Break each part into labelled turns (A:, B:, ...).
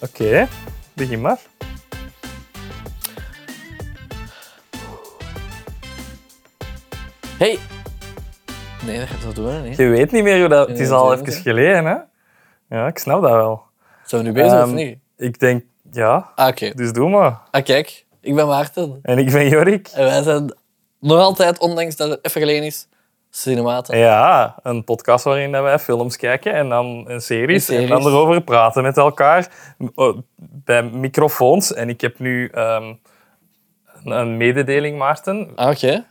A: Oké, begin maar.
B: Hey! Nee, dat gaat wel door, hè?
A: Je weet niet meer hoe dat... Het is
B: Nee,
A: al
B: dat
A: even
B: weet ik,
A: geleden, hè? Ja, ik snap dat wel.
B: Zijn we nu bezig of
A: Ehm,
B: niet?
A: Ik denk, ja,
B: Ah, oké.
A: dus doe maar.
B: Ah, kijk. Ik ben Maarten.
A: En ik ben Jorik.
B: En wij zijn nog altijd, ondanks dat het even geleden is, cinematen.
A: Ja, een podcast waarin dat wij films kijken en dan een series,
B: Een series.
A: en dan erover praten met elkaar m- oh, bij microfoons. En ik heb nu ehm, een, een mededeling, Maarten.
B: Ah, oké.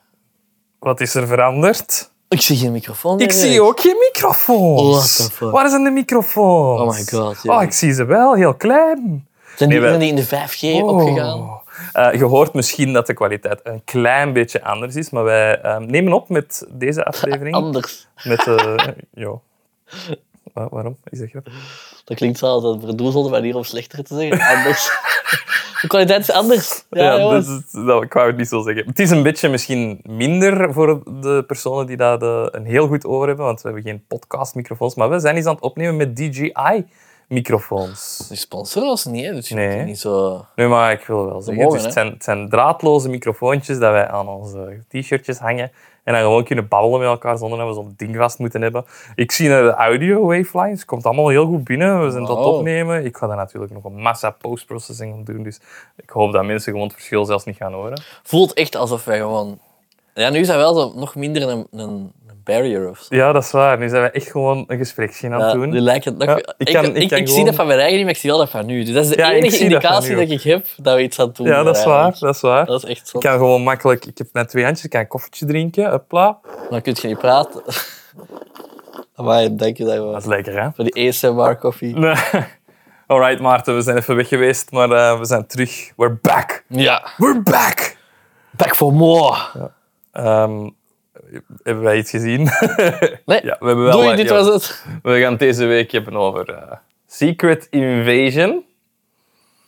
A: Wat is er veranderd?
B: Ik zie geen microfoon.
A: Ik
B: meer,
A: zie
B: Erik.
A: ook geen microfoons.
B: What the fuck?
A: Waar zijn de microfoons?
B: Oh my god, ja.
A: Oh, ik zie ze wel, heel klein.
B: Zijn die,
A: Nee, wij- Oh.
B: zijn die in de 5G opgegaan?
A: Eh, je hoort misschien dat de kwaliteit een klein beetje anders is, maar wij ehm, nemen op met deze aflevering.
B: Anders.
A: Met, eh jo. Wa- waarom? Is dat grappig?
B: Dat klinkt wel als een verdoezelde manier om slechter te zeggen. Anders. de kwaliteit is anders. Ja,
A: Ja, dus-
B: jongens.
A: dat, is- dat, ik wou het niet zo zeggen. Het is een beetje misschien minder voor de personen die daar de- een heel goed oor hebben, want we hebben geen podcastmicrofoons, maar we zijn iets aan het opnemen met DJI-microfoons.
B: Die sponsoren was niet, hè? Dus je
A: Nee.
B: moet niet zo...
A: Nee, maar ik wil wel zeggen,
B: mogen,
A: dus het, zijn, het zijn draadloze microfoontjes dat wij aan onze t-shirtjes hangen en dan gewoon kunnen babbelen met elkaar zonder dat we zo'n ding vast moeten hebben. Ik zie naar de audio wavelines, komt allemaal heel goed binnen, we zijn dat
B: Wauw.
A: opnemen. Ik ga daar natuurlijk nog een massa postprocessing op doen, dus ik hoop dat mensen gewoon het verschil zelfs niet gaan horen.
B: voelt echt alsof wij gewoon... Ja, nu is dat wel zo nog minder een, een, een barrier of zo.
A: Ja, dat is waar. Nu zijn we echt gewoon een gespreksje aan het
B: Ja,
A: doen.
B: nu lijkt het nog...
A: Ja,
B: ik
A: ik
B: ik,
A: kan-
B: ik,
A: ik kan
B: ik zie
A: gewoon-
B: dat van mijn eigen niet, maar ik zie wel dat van nu. Dus dat is de
A: Ja, ik
B: enige
A: zie dat van
B: indicatie
A: nu
B: dat, ik heb dat we iets aan het doen
A: Ja, dat is
B: zijn
A: waar.
B: eigenlijk.
A: Dat is waar.
B: Dat is echt zo.
A: Ik kan gewoon makkelijk... Ik heb net twee handjes, ik kan een koffietje drinken. Hopla.
B: Dan kun je niet praten. Amai, denk je dat je
A: Dat
B: wel-
A: is lekker, hè?
B: Van die ASMR-koffie.
A: Nee. Alright, Maarten, we zijn even weg geweest, maar eh, we zijn terug. We're back!
B: Ja.
A: We're back!
B: Back for more.
A: Ehm, hebben wij iets gezien?
B: Nee,
A: ja, we hebben wel...
B: doei,
A: eh,
B: dit
A: ja,
B: was het.
A: We gaan het deze week hebben over eh, Secret Invasion.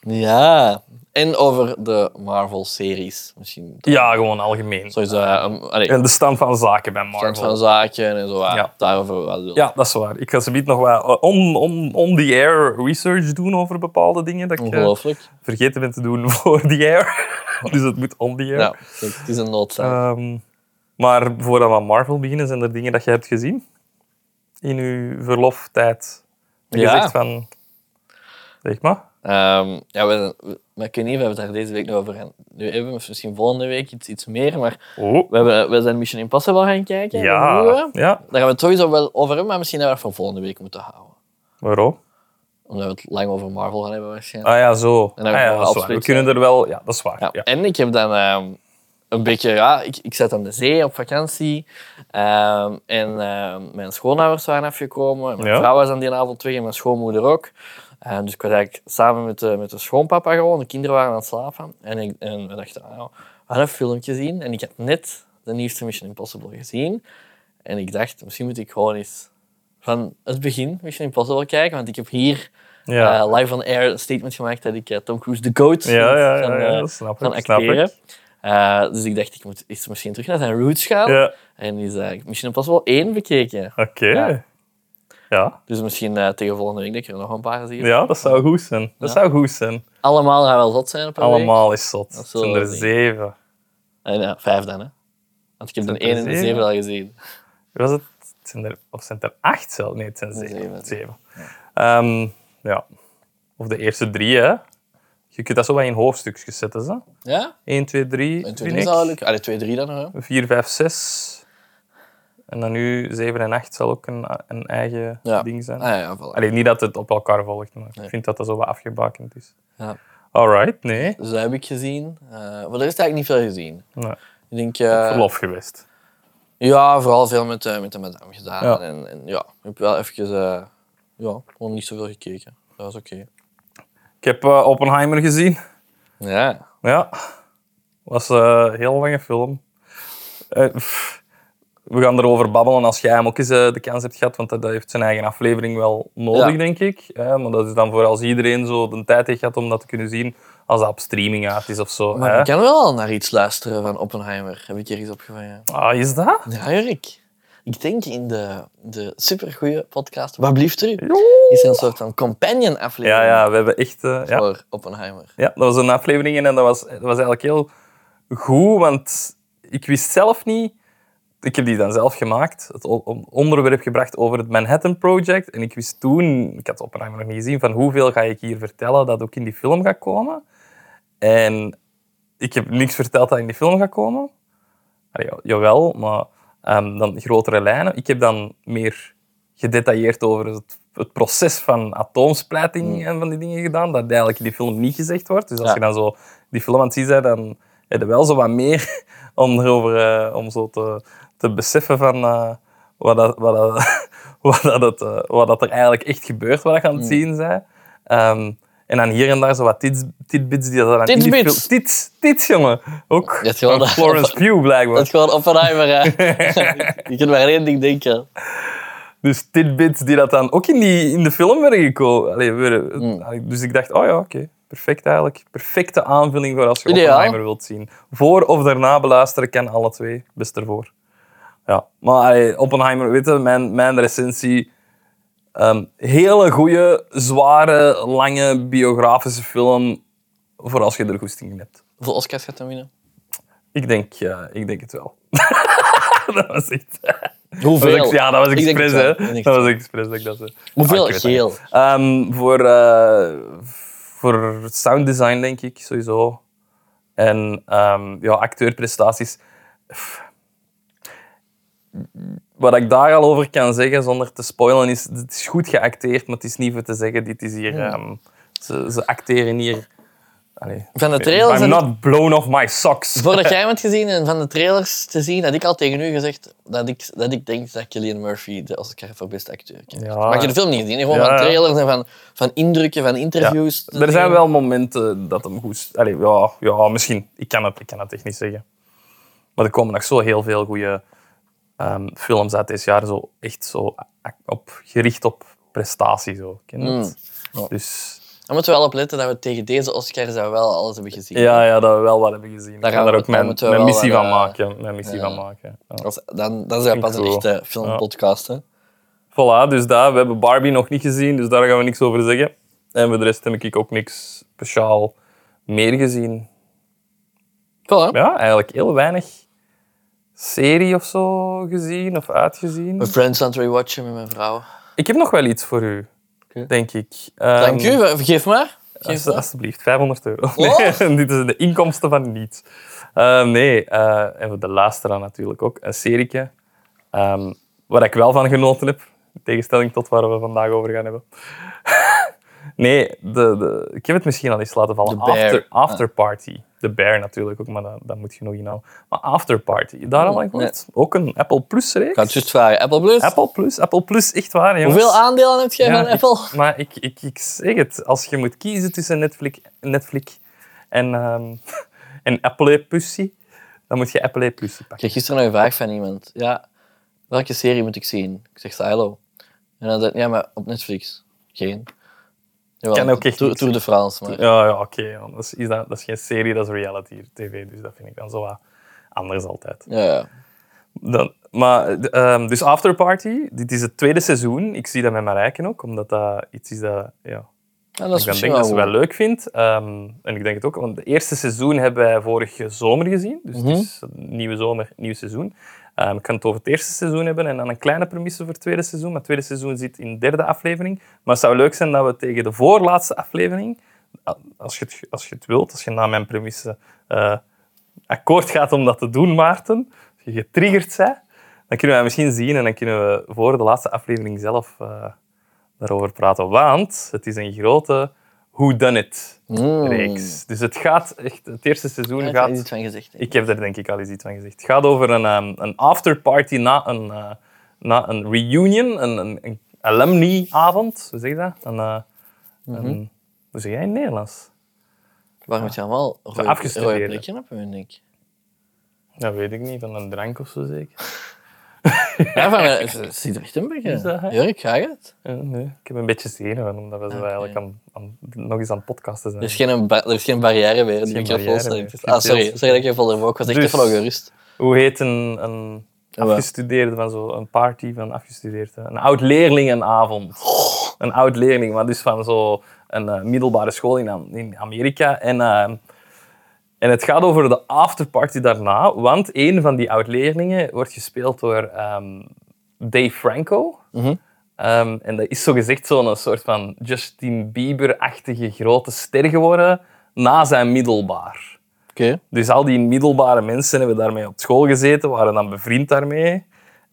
B: Ja. En over de Marvel-series. Misschien
A: Ja, gewoon algemeen.
B: sowieso eh, um, allee,
A: En de stand van zaken bij
B: stand
A: Marvel.
B: van zaken en zo. eh,
A: Ja.
B: Daarover wat doen.
A: Ja, dat is waar. Ik ga zometeen nog wat eh, on, on, on the air research doen over bepaalde dingen dat ik eh,
B: Ongelooflijk.
A: vergeten ben te doen voor the air. dus het moet on the air.
B: Ja, het het is een noodzaak.
A: Ehm, maar voordat we aan Marvel beginnen, zijn er dingen dat je hebt gezien in uw verloftijd? Dat je
B: Ja.
A: zegt van... Zeg maar.
B: Ehm, ja, we, we- maar ik weet niet of we het daar deze week nog over gaan nu hebben. of Misschien volgende week iets, iets meer. Maar
A: Oh.
B: we, hebben, we zijn Mission Impossible gaan kijken. de
A: Ja.
B: nieuwe.
A: ja.
B: Daar gaan we het sowieso wel over hebben, maar misschien dat we dat voor volgende week moeten houden.
A: Waarom?
B: Omdat we het lang over Marvel gaan hebben waarschijnlijk.
A: Ah ja, zo. Ah,
B: dan gaan we
A: ja, dat is waar. We
B: afspreken.
A: kunnen er wel... Ja, dat is waar.
B: Ja,
A: Ja.
B: En ik heb dan ehm, een beetje, ja, ik, ik zat aan de zee op vakantie. ehm, en ehm, mijn schoonouders waren afgekomen. Mijn
A: Ja.
B: vrouw was aan die avond weg en mijn schoonmoeder ook. Eh, dus ik was eigenlijk samen met de, met de schoonpapa gewoon. De kinderen waren aan het slapen. En, ik, en we dachten, ah, we gaan een filmpje zien. En ik had net de nieuwste Mission Impossible gezien. En ik dacht, misschien moet ik gewoon eens van het begin Mission Impossible kijken. Want ik heb hier
A: Ja.
B: eh, live on air een statement gemaakt dat ik eh, Tom Cruise de GOAT
A: ja, ja,
B: van,
A: ja, ja,
B: eh,
A: dat snap
B: gaan
A: ik. Snap
B: acteren.
A: ik.
B: Eh, dus ik dacht, ik moet eens misschien terug naar zijn roots gaan.
A: Ja.
B: En die is eh, misschien pas wel één bekeken.
A: Oké.
B: Ja.
A: ja.
B: Dus misschien eh, tegen volgende week dat ik er nog een paar zie.
A: Ja, dat zou goed zijn. Dat
B: Ja.
A: zou goed zijn.
B: Allemaal gaan wel zot zijn op een week.
A: Allemaal is zot.
B: Dat
A: Het
B: zullen
A: zijn
B: we
A: er
B: zien.
A: zeven.
B: En, ja, vijf dan, hè. Want ik heb de
A: Zijn er
B: één en de
A: zeven?
B: zeven al gezien.
A: Was het? het zijn er, of zijn het er acht zelf? Nee, het zijn zeven.
B: Zeven.
A: Zeven. Ehm, ja. Of de eerste drie, hè. Je kunt dat zo wel in hoofdstukjes zetten, zo.
B: Ja?
A: 1, 2, 3,
B: En toen is al lukken. Allee, twee, drie dan nog, hè.
A: 4, 5, 6. En dan nu 7 en 8 zal ook een, een eigen
B: Ja.
A: ding zijn.
B: Ah, ja, ja, voilà.
A: Allee, niet dat het op elkaar volgt, maar
B: Nee.
A: ik vind dat dat zo wat afgebakend is.
B: Ja.
A: Alright, nee.
B: Dus dat heb ik gezien. Eh, maar er is eigenlijk niet veel gezien.
A: nee.
B: Ik denk... eh,
A: Verlof geweest.
B: Ja, vooral veel met, eh, met de madame gedaan.
A: Ja.
B: En, en ja, ik heb wel even... eh, ja, gewoon niet zoveel gekeken. Dat was oké.
A: Ik heb eh, Oppenheimer gezien.
B: Ja.
A: Ja, was eh, een heel lange film. Eh, pff, we gaan erover babbelen als jij hem ook eens eh, de kans hebt gehad, want dat, dat heeft zijn eigen aflevering wel nodig,
B: Ja.
A: denk ik. Eh, maar dat is dan voor als iedereen zo de tijd heeft gehad om dat te kunnen zien, als dat op streaming uit is of zo.
B: Maar
A: hè.
B: ik kan wel naar iets luisteren van Oppenheimer. Heb ik hier iets opgevangen?
A: Ah, is dat?
B: Ja, Jurk. ik denk in de, de supergoeie podcast Wat blieft er?
A: Ja,
B: Is er een soort van companion aflevering
A: ja, we hebben echt... eh, ja.
B: voor Oppenheimer.
A: ja, dat was een aflevering en dat was, dat was eigenlijk heel goed, want ik wist zelf niet... Ik heb die dan zelf gemaakt, het o- on- onderwerp gebracht over het Manhattan Project. En ik wist toen, ik had Oppenheimer nog niet gezien, van hoeveel ga ik hier vertellen dat ook in die film gaat komen. En ik heb niks verteld dat in die film gaat komen. Allee, ja- jawel, maar ehm, dan grotere lijnen. Ik heb dan meer gedetailleerd over het, het proces van atoomsplijting en van die dingen gedaan, dat eigenlijk in die film niet gezegd wordt. Dus als
B: Hmm. Ja.
A: je dan zo die film aan het zien bent, dan heb je wel zo wat meer om, erover, eh, om zo te, te beseffen van eh, wat, dat, wat, dat, wat, dat, het, eh, wat dat er eigenlijk echt gebeurt, wat je aan
B: Hmm.
A: het zien bent. Ehm, en dan hier en daar zo wat tits- tidbits die dat dan in die
B: Tidbits.
A: film- Tits, tits, jongen. Ook
B: Ja, het is wel
A: van
B: dat-
A: Florence Pugh, blijkbaar.
B: Dat is gewoon Oppenheimer, hè. je kunt maar aan één ding denken.
A: Dus tidbits die dat dan ook in, die, in de film werden gekomen. Allee, werden- allee, Dus ik dacht, oh ja, oké. Perfect eigenlijk. Perfecte aanvulling voor als je
B: Ideaal.
A: Oppenheimer wilt zien. Voor of daarna beluisteren kan alle twee. Best ervoor. Ja. Maar allee, Oppenheimer, weet je, mijn, mijn recensie... ehm, hele goede, zware, lange biografische film voor als je er goesting in hebt.
B: Hoeveel Oscars gaat hij winnen?
A: Ik denk, ja, ik denk het wel. dat was echt... Dat
B: Hoeveel?
A: was ex- ja, dat was
B: Ik denk
A: expres,
B: het wel.
A: hè.
B: Ik denk het
A: Dat
B: wel.
A: was expres dat ik dat zei.
B: Hoeveel
A: Ah, ik weet
B: geel?
A: het niet. Ehm, voor, eh, voor sound design, denk ik, sowieso. En ehm, ja, acteurprestaties. Pff. Wat ik daar al over kan zeggen, zonder te spoilen, is... Het is goed geacteerd, maar het is niet voor te zeggen... Dit is
B: Hmm.
A: hier... ehm, ze, ze acteren hier... Allee.
B: Van de trailers...
A: I'm
B: en-
A: Eh, not blown off my socks.
B: Voordat jij hem hebt gezien en van de trailers te zien, had ik al tegen u gezegd dat ik, dat ik denk dat Cillian Murphy de Oscar voor beste acteur krijgt.
A: Ja.
B: Maar ik heb de film niet gezien. hè. Gewoon
A: Ja.
B: van trailers en van, van indrukken, van interviews.
A: Er zijn wel momenten dat hem goed... is. Allee, ja, ja, misschien. Ik kan, het, ik kan het echt niet zeggen. Maar er komen nog zo heel veel goede films uit dit jaar. Zo echt zo a- op, gericht op prestatie. Zo. Ken je het?
B: Ja.
A: Dus
B: Daar moeten we wel op letten dat we tegen deze Oscars dat we wel alles hebben gezien.
A: ja, ja, dat we wel wat hebben gezien.
B: Daar
A: ik ga
B: gaan
A: daar
B: we-
A: ook
B: daar
A: mijn,
B: moeten we
A: mijn
B: wel
A: missie
B: wat,
A: van
B: eh,
A: maken. Mijn missie van maken. ja.
B: Als- Dan, dan zijn we pas een
A: Cool.
B: echte filmpodcast. hè.
A: Voilà, dus daar. We hebben Barbie nog niet gezien, dus daar gaan we niks over zeggen. En voor de rest heb ik ook niks speciaal meer gezien.
B: Cool, hè?
A: ja, eigenlijk heel weinig serie of zo gezien of uitgezien.
B: Mijn friends aan het rewatchen met mijn vrouw.
A: Ik heb nog wel iets voor u,
B: Oké.
A: denk ik.
B: Dank
A: Ehm,
B: u, vergeef maar. Geef
A: als-
B: maar.
A: alsjeblieft, 500 euro.
B: Oh.
A: Nee, dit is de inkomsten van niets. Ehm, nee, eh, en voor de luisteraar natuurlijk ook, een serietje. ehm, waar ik wel van genoten heb, in tegenstelling tot waar we vandaag over gaan hebben. nee, de, de, ik heb het misschien al eens laten vallen.
B: The Bear. Ah.
A: After, after Party. De Bear natuurlijk ook, maar dat, dat moet je nog inhouden. Maar After Party, daar al
B: Oh,
A: aan gehoord? Ook een Apple Plus reeks.
B: Ik had het juist vragen. Apple Plus?
A: Apple Plus, Apple Plus, echt waar jongens.
B: Hoeveel aandelen heb jij
A: Ja,
B: van Apple?
A: Ik, maar ik, ik, ik zeg het, als je moet kiezen tussen Netflix, Netflix en, ehm en Apple Pussy, dan moet je Apple Pussy
B: Ik
A: pakken.
B: kreeg gisteren nog een vraag van iemand. Ja, welke serie moet ik zien? Ik zeg Silo. En dan zei hij, ja, maar op Netflix. Geen. Jawel,
A: Kan ook echt
B: Tour,
A: niet.
B: Tour de France, maar...
A: Ja, ja oké. ja. dat, is- is dat, dat is geen serie, dat is reality tv, dus dat vind ik dan zo wat anders altijd.
B: Ja, ja.
A: Dan, maar, eh, de- ehm, dus After Party, dit is het tweede seizoen. Ik zie dat met Marijken ook, omdat dat iets is dat... Ja,
B: En dat is
A: ik dan
B: misschien
A: denk dat ze
B: wel
A: wel leuk vindt. Ehm, en ik denk het ook, want het eerste seizoen hebben wij vorige zomer gezien. Dus
B: Mhm.
A: het is een nieuwe zomer, nieuw seizoen. Ehm, ik kan het over het eerste seizoen hebben en dan een kleine premisse voor het tweede seizoen. Maar het tweede seizoen zit in de derde aflevering. Maar het zou leuk zijn dat we tegen de voorlaatste aflevering, a- als je het, als je het wilt, als je na mijn premisse eh, akkoord gaat om dat te doen, Maarten, als je getriggerd bent, dan kunnen we dat misschien zien en dan kunnen we voor de laatste aflevering zelf... eh, daarover praten. Want het is een grote Who Done It
B: Mm.
A: reeks. Dus het gaat echt, het eerste seizoen
B: Ja, ik had er
A: gaat.
B: iets van gezegd. hè.
A: Ik heb daar denk ik al eens iets van gezegd. Het gaat over een, ehm, een afterparty na een, eh, na een reunion, een, een, een alumni-avond, hoe zeg je dat? Een, eh, een- hoe zeg jij in het Nederlands?
B: Waar moet je allemaal rode,
A: afgestudeerd,
B: rode
A: hè.
B: plekken op hun nek?
A: Dat weet ik niet, van een drank of zo zeker.
B: Ja, van eh, het- het ziet er echt een
A: Is dat, hè?
B: beetje... Jurk, ga je het?
A: Eh, nee. Ik heb een beetje zenuwen, omdat we zo eigenlijk aan, aan- nog eens aan het podcasten zijn.
B: Er is geen, ba- er is geen barrière meer. in de
A: geen barrière
B: microfoon.
A: meer.
B: Ah, sorry. Sorry dat ik je volder Ik was echt
A: Dus-
B: even ongerust.
A: Hoe heet een, een, afgestudeerden van zo een party van afgestudeerden. Een oud leerlingenavond. Een oud leerling, maar dus van zo een eh, middelbare school in, Am- in Amerika. En, eh, en het gaat over de afterparty daarna, want een van die oud leerlingen wordt gespeeld door ehm, Dave Franco. Ehm, en dat is zogezegd zo'n soort van Justin Bieber-achtige grote ster geworden na zijn middelbaar.
B: Oké.
A: Dus al die middelbare mensen hebben daarmee op school gezeten, waren dan bevriend daarmee.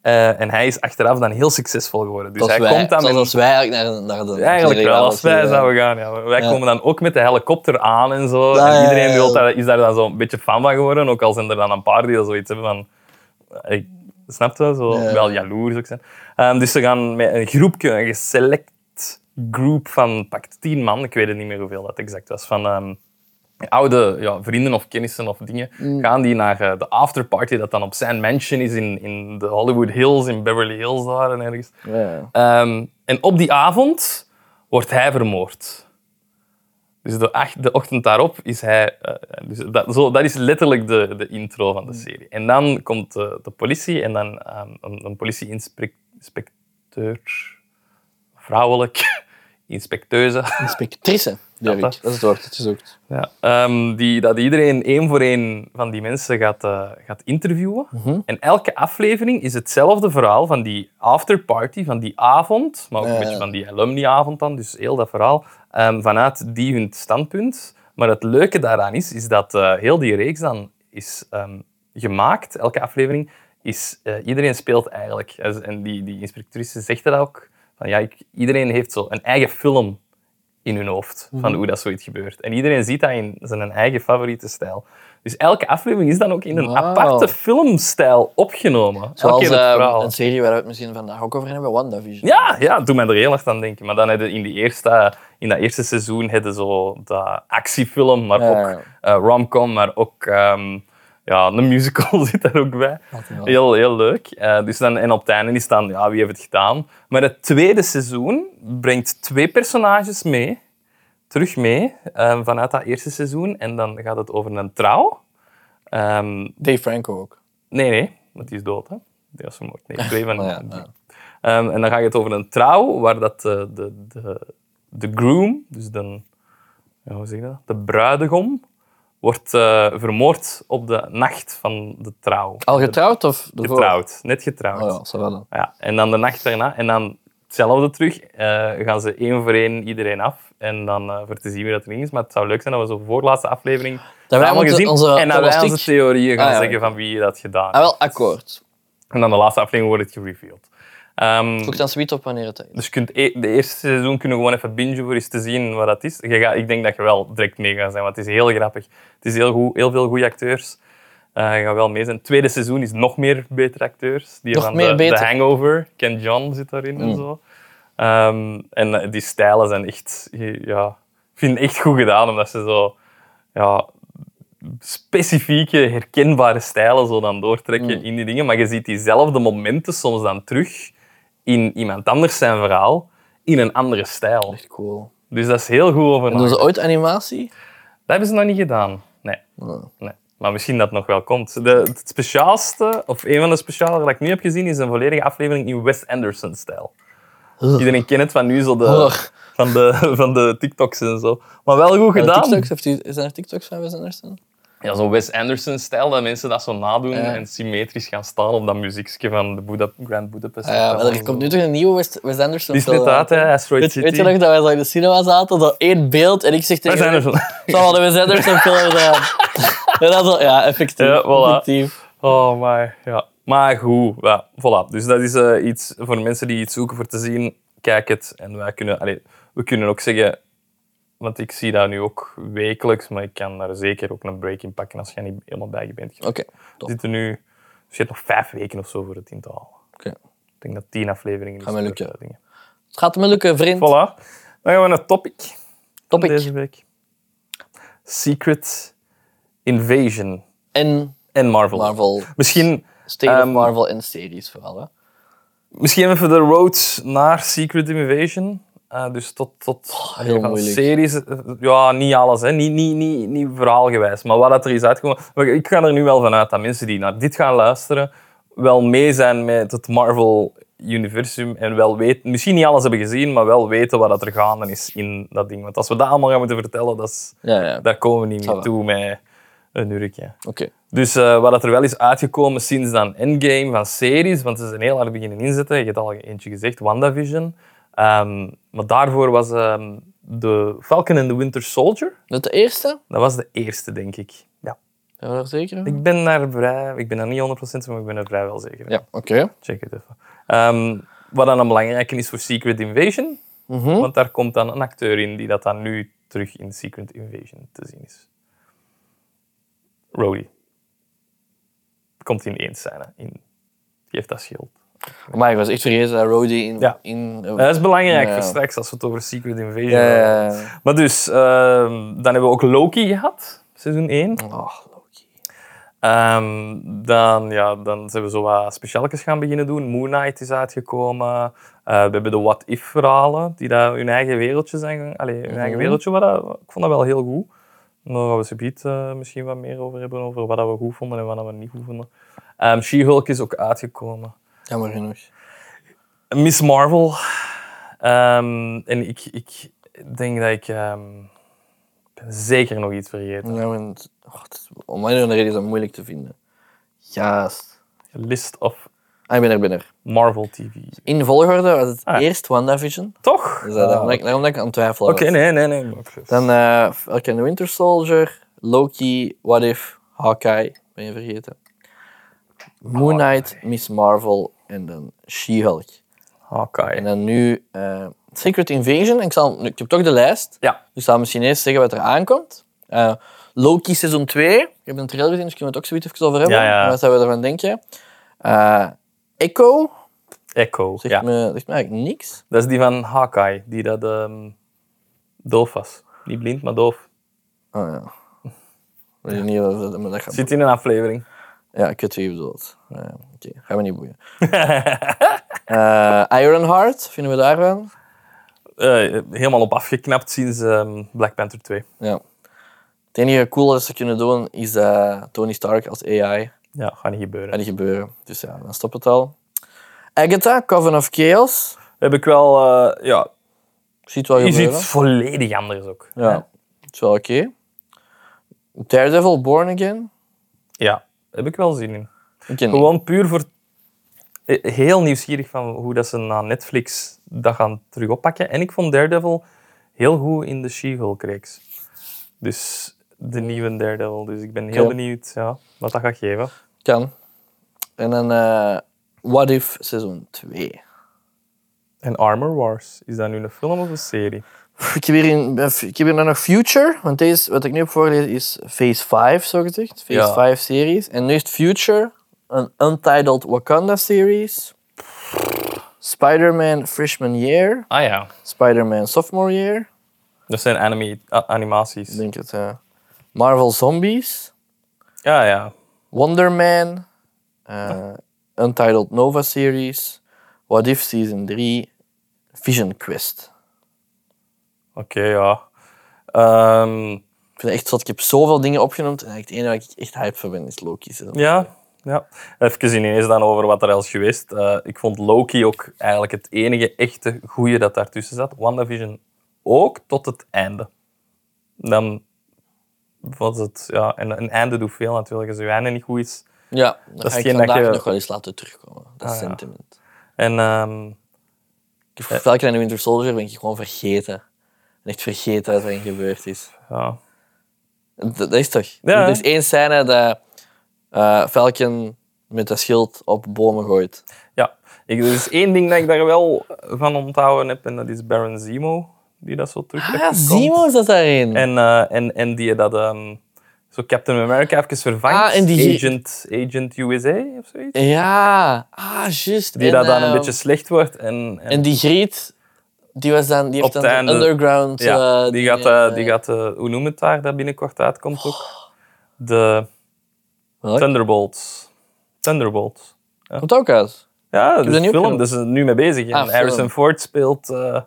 A: Eh, en hij is achteraf dan heel succesvol geworden. Dus
B: Zoals
A: hij
B: wij-
A: komt dan
B: zoals
A: met...
B: als wij eigenlijk naar, naar de...
A: Eigenlijk wel, als
B: als
A: wij
B: eh,
A: zouden gaan. Ja. Wij
B: Ja.
A: komen dan ook met de helikopter aan en zo.
B: Ja, ja,
A: en iedereen
B: ja,
A: wil
B: ja.
A: daar- is daar dan zo'n beetje fan van geworden. Ook al zijn er dan een paar die dan zoiets hebben van... Ik snap je? Zo,
B: Ja.
A: Wel jaloers ook zijn. Ehm, dus ze gaan met een groepje, een geselect groep van pak tien man. Ik weet het niet meer hoeveel dat exact was. Van ehm, oude ja, vrienden of kennissen of dingen.
B: Mm.
A: Gaan die naar eh, de afterparty dat dan op zijn mansion is in, in de Hollywood Hills, in Beverly Hills daar en ergens.
B: Ja.
A: Ehm, en op die avond wordt hij vermoord. Dus de, ach- de ochtend daarop is hij. eh, dus dat, zo, dat is letterlijk de, de intro
B: Mm.
A: van de serie. En dan komt de, de politie en dan ehm, een, een politie-inspecteur. Vrouwelijk. Inspecteuse.
B: eh, Inspectrice, durf ik.
A: dat-
B: Dat is het woord dat je zoekt.
A: Ja. ehm, die, dat iedereen één voor één van die mensen gaat, eh, gaat interviewen.
B: Mhm.
A: En elke aflevering is hetzelfde verhaal van die afterparty, van die avond, maar ook
B: Ja,
A: een
B: ja.
A: beetje van die alumni-avond dan, dus heel dat verhaal, ehm, vanuit die hun standpunt. Maar het leuke daaraan is, is dat eh, heel die reeks dan is ehm, gemaakt, elke aflevering, is, eh, iedereen speelt eigenlijk. En die, die inspectrice zegt dat ook, van ja, ik, iedereen heeft zo een eigen film in hun hoofd
B: Mhm.
A: van hoe dat zoiets gebeurt. En iedereen ziet dat in zijn eigen favoriete stijl. Dus elke aflevering is dan ook in een
B: Wauw.
A: aparte filmstijl opgenomen. Elke
B: Zoals
A: keer het
B: eh,
A: verhaal.
B: een serie waar we het misschien vandaag ook over hebben, WandaVision.
A: Ja, ja, doe mij er heel hard aan denken. Maar dan hadden in, die eerste, in dat eerste seizoen hadden zo dat actiefilm, maar
B: Ja,
A: ook
B: ja.
A: eh, romcom, maar ook ehm, ja, een musical zit daar ook bij.
B: wel.
A: Heel, heel leuk. Eh, dus dan, en op het einde is dan, ja, wie heeft het gedaan? Maar het tweede seizoen brengt twee personages mee, terug mee, ehm, vanuit dat eerste seizoen. En dan gaat het over een trouw. Ehm,
B: Dave Franco ook.
A: Nee, nee, want die is dood, hè? Die was vermoord. Nee, twee van
B: Oh ja,
A: die.
B: ja.
A: Ehm, en dan ga je het over een trouw waar dat eh, de, de, de groom, dus de, ja, hoe zeg je dat? de bruidegom, wordt eh, vermoord op de nacht van de trouw.
B: Al getrouwd of ervoor?
A: Getrouwd, net getrouwd.
B: Oh ja, zo wel dan.
A: Ja, en dan de nacht daarna. En dan hetzelfde terug. eh, gaan ze één voor één iedereen af. En dan eh, voor te zien wie dat erin is. Maar het zou leuk zijn dat we zo voorlaatste aflevering
B: wij
A: allemaal
B: onze-
A: gezien.
B: onze
A: en dat wij
B: pronostiek-
A: onze theorieën gaan
B: Ah, ja.
A: zeggen van wie dat gedaan
B: Ah,
A: heeft.
B: wel, akkoord.
A: En dan de laatste aflevering wordt het gereveeld. Ehm,
B: Zoek dan sweet op wanneer het is.
A: dus je kunt e- de eerste seizoen kunnen we gewoon even bingen voor eens te zien wat dat is. Je gaat, ik denk dat je wel direct mee gaat zijn, want het is heel grappig. Het is heel, goed, heel veel goede acteurs. Eh, je gaat wel mee zijn. Het tweede seizoen is nog meer betere acteurs. Die
B: Nog
A: van
B: meer
A: de,
B: beter. Mm.
A: de Hangover, Ken John zit daarin en zo. Ehm, en eh, die stijlen zijn echt, ja, ik vind het echt goed gedaan, omdat ze zo ja, specifieke, herkenbare stijlen zo dan doortrekken
B: Mm.
A: in die dingen. Maar je ziet diezelfde momenten soms dan terug in iemand anders zijn verhaal, in een andere stijl.
B: Echt cool.
A: Dus dat is heel goed over.
B: En
A: nagedacht.
B: doen ze ooit animatie?
A: Dat hebben ze nog niet gedaan. Nee.
B: Oh.
A: nee. Maar misschien dat nog wel komt. De, het speciaalste, of een van de speciale dat ik nu heb gezien, is een volledige aflevering in Wes Anderson-stijl.
B: Ugh.
A: Iedereen kent het van nu, zo de,
B: Ugh.
A: van, de, van de TikToks en zo. Maar wel goed
B: Zijn er
A: gedaan.
B: TikToks? Heeft u, zijn er TikToks van Wes Anderson? Ah
A: Ja, zo'n Wes Anderson-stijl, dat mensen dat zo nadoen
B: Ja.
A: en symmetrisch gaan staan op dat muziekje van de Buda- Grand Budapest.
B: Ah ja, maar er
A: Hotel.
B: komt nu toch een nieuwe Wes, Wes Anderson
A: Die is net
B: film
A: uit, hè, Asteroid
B: Weet,
A: City.
B: weet je nog dat wij zo in de cinema zaten, dat één beeld, en ik zeg tegen
A: Wes
B: jullie,
A: Anderson.
B: Zal wel de Wes Anderson film gedaan. En dat zo, ja, effectief.
A: Ja, voilà.
B: effectief.
A: Oh, maar ja. Maar goed, ja, voilà. Dus dat is eh, iets voor mensen die iets zoeken voor te zien. Kijk het. En wij kunnen, allee, we kunnen ook zeggen, want ik zie dat nu ook wekelijks, maar ik kan daar zeker ook een break in pakken als je niet helemaal bij je bent.
B: Oké,
A: We
B: Oh, top.
A: zitten nu, dus je hebt nog vijf weken of zo voor het in te halen.
B: Oké.
A: Ik denk dat tien afleveringen is.
B: Gaat mij
A: voor,
B: lukken.
A: eh, dingen.
B: Het gaat me lukken, vriend.
A: Voilà. Dan gaan we naar het topic van
B: Topic.
A: deze week. Secret Invasion
B: En
A: en Marvel.
B: Marvel.
A: Misschien,
B: State
A: Ehm,
B: of Marvel en series vooral. Hè.
A: misschien even de road naar Secret Invasion. Eh, dus tot, tot
B: Oh, heel
A: van
B: moeilijk.
A: series. eh, Ja, niet alles. Hè. Niet, niet, niet, niet verhaalgewijs. Maar wat dat er is uitgekomen. Maar Ik ga er nu wel vanuit dat mensen die naar dit gaan luisteren wel mee zijn met het Marvel-universum en wel weten, misschien niet alles hebben gezien, maar wel weten wat dat er gaande is in dat ding. Want als we dat allemaal gaan moeten vertellen, dat is,
B: Ja, ja.
A: daar komen we niet
B: Voilà.
A: meer toe met een urkje.
B: Oké.
A: Dus eh, wat dat er wel is uitgekomen sinds dan Endgame van series, want ze zijn heel hard beginnen inzetten. Je hebt al eentje gezegd, WandaVision. Ehm, maar daarvoor was ehm, de Falcon and the Winter Soldier.
B: Dat de eerste?
A: Dat was de eerste, denk ik. Ja.
B: Zijn we daar zeker van?
A: Ik ben daar vrij... Ik ben daar niet 100% van, maar ik ben er vrij wel zeker van.
B: Ja, oké.
A: Check het even. Ehm, wat dan een belangrijke is voor Secret Invasion.
B: Mhm.
A: Want daar komt dan een acteur in die dat dan nu terug in Secret Invasion te zien is. Rhodey. Komt in één scène in. Geeft dat schild.
B: Maar ik was echt vergeten dat Rody in...
A: Ja.
B: in eh,
A: Ja, dat is belangrijk
B: Ja.
A: voor straks als we het over Secret Invasion
B: ja,
A: hebben.
B: ja, ja.
A: Maar dus, ehm, dan hebben we ook Loki gehad, seizoen 1.
B: Oh, Loki.
A: Ehm, dan, ja, dan zijn we zo wat speciaaltjes gaan beginnen doen. Moon Knight is uitgekomen. Eh, we hebben de What If verhalen, die daar hun eigen wereldje zijn. gaan- Allee, hun eigen wereldje, wat dat- ik vond dat wel heel goed. Daar gaan we zo misschien wat meer over hebben, over wat dat we goed vonden en wat dat we niet goed vonden. Ehm, She-Hulk is ook uitgekomen.
B: Jammer genoeg.
A: Miss Marvel. Ehm, en ik, ik denk dat ik ehm, ik ben zeker nog iets vergeten.
B: Ja, want, oh, het is- om een of andere reden is dat moeilijk te vinden. Juist.
A: List of
B: Ah, ik ben er, ik ben er.
A: Marvel TV.
B: In volgorde was het
A: Ah.
B: eerst WandaVision.
A: Toch?
B: Dus, eh, daarom, dat ik, daarom dat ik aan het twijfelen
A: Oké,
B: was.
A: nee, nee, nee. maar-
B: Dan eh Falcon and the Winter Soldier, Loki, What If, Hawkeye, ben je vergeten. Moon Knight, Miss Marvel en dan She-Hulk. En
A: Hawkeye.
B: dan nu eh, Secret Invasion. En Ik, zal, ik heb toch de lijst.
A: Ja.
B: Dus ik zal misschien eerst zeggen wat er aankomt. Eh, Loki seizoen 2. Ik heb een trailer gezien, dus kunnen we het ook zoiets even over hebben.
A: Ja, ja.
B: Wat zouden we ervan denken? Eh, Echo.
A: Echo.
B: Zegt,
A: Ja.
B: me, zegt me eigenlijk niks.
A: Dat is die van Hawkeye, die dat ehm, doof was. Niet blind, maar doof.
B: Oh ja. Ik weet niet of dat, maar dat gaat...
A: Zit in een aflevering.
B: Ja, ik weet wie je bedoelt. Ja, Oké, gaan we niet boeien. Eh, Ironheart, vinden we daarvan?
A: Eh, helemaal op afgeknapt sinds ehm, Black Panther 2.
B: Ja. Het enige coole dat ze kunnen doen is eh, Tony Stark als AI.
A: Ja, gaat niet gebeuren.
B: gaat niet gebeuren. Dus ja, dan stopt het al. Agatha, Coven of Chaos.
A: Heb ik wel... eh, ja,
B: Ziet wel
A: is
B: gebeuren.
A: iets volledig anders ook.
B: Ja, het is wel oké. Daredevil, Born Again.
A: Ja, heb ik wel zin in.
B: Ik ken niet.
A: Gewoon puur voor... eh, Heel nieuwsgierig van hoe dat ze na Netflix dat gaan terug oppakken. En ik vond Daredevil heel goed in de She-Hulk-reeks. Dus de nieuwe Daredevil. Dus ik ben heel
B: Oké.
A: benieuwd ja, wat dat gaat geven.
B: Kan. En dan eh, What If seizoen 2.
A: En Armor Wars, is dat nu een film of een serie?
B: Ik heb, hier in, ik heb hier dan nog Future, want deze, wat ik nu heb voorgelezen is Phase 5, zo gezegd. Phase
A: Ja.
B: 5 series. En nu is het Future, een Untitled Wakanda series. Spider-Man Freshman Year.
A: Ah ja.
B: Spider-Man Sophomore Year.
A: Dat zijn anime, a-
B: Ik
A: animaties.
B: denk het, ja. Marvel Zombies,
A: Ja, ja.
B: Wonder Man, eh,
A: Ah.
B: Untitled Nova Series, What If Season 3, Vision Quest.
A: Oké, ja. Ehm,
B: Ik vind het echt zot. Ik heb zoveel dingen opgenoemd en eigenlijk het enige waar ik echt hype voor ben is Loki. seizoen.
A: Ja, ja. Even ineens dan over wat er al is geweest. Eh, ik vond Loki ook eigenlijk het enige echte goede dat daartussen zat. WandaVision ook tot het einde. Dan was het... Ja, en een einde doet veel natuurlijk. Als je einde niet goed is...
B: Ja, dat,
A: is
B: ga ik
A: geen dat
B: vandaag
A: je-
B: nog wel eens laten terugkomen. Dat
A: Ah, ja.
B: sentiment.
A: En ehm,
B: Ik heb Falcon and the Winter Soldier ben ik gewoon vergeten. Ik ben echt vergeten wat er gebeurd is.
A: ja,
B: Dat, dat is toch?
A: Ja.
B: Er is één scène dat eh, Falcon met dat schild op bomen gooit.
A: ja. Ik, er is één ding dat ik daar wel van onthouden heb. En dat is Baron Zemo. Die dat zo terug
B: Ah, Zemo zat daarin.
A: En, eh, en, en die dat... ehm, zo Captain America even vervangt.
B: Ah, en die-
A: Agent, Agent USA of zoiets.
B: Ja, ah, juist.
A: Die dat dan een
B: ehm,
A: beetje slecht wordt. En, en,
B: En die Griet, die, was dan, die heeft
A: Op
B: dan
A: het
B: de
A: einde.
B: underground...
A: ja,
B: eh, Oh.
A: die gaat,
B: dingen,
A: eh, die gaat eh, hoe noem het daar, dat binnenkort uitkomt ook? De
B: Welk?
A: Thunderbolts. Thunderbolts.
B: Komt ook uit.
A: Ja, dat is
B: dat
A: een
B: niet
A: film, dus,
B: opgenomen.
A: daar zijn ze nu mee bezig. En
B: Ah, film.
A: Harrison Ford speelt, eh,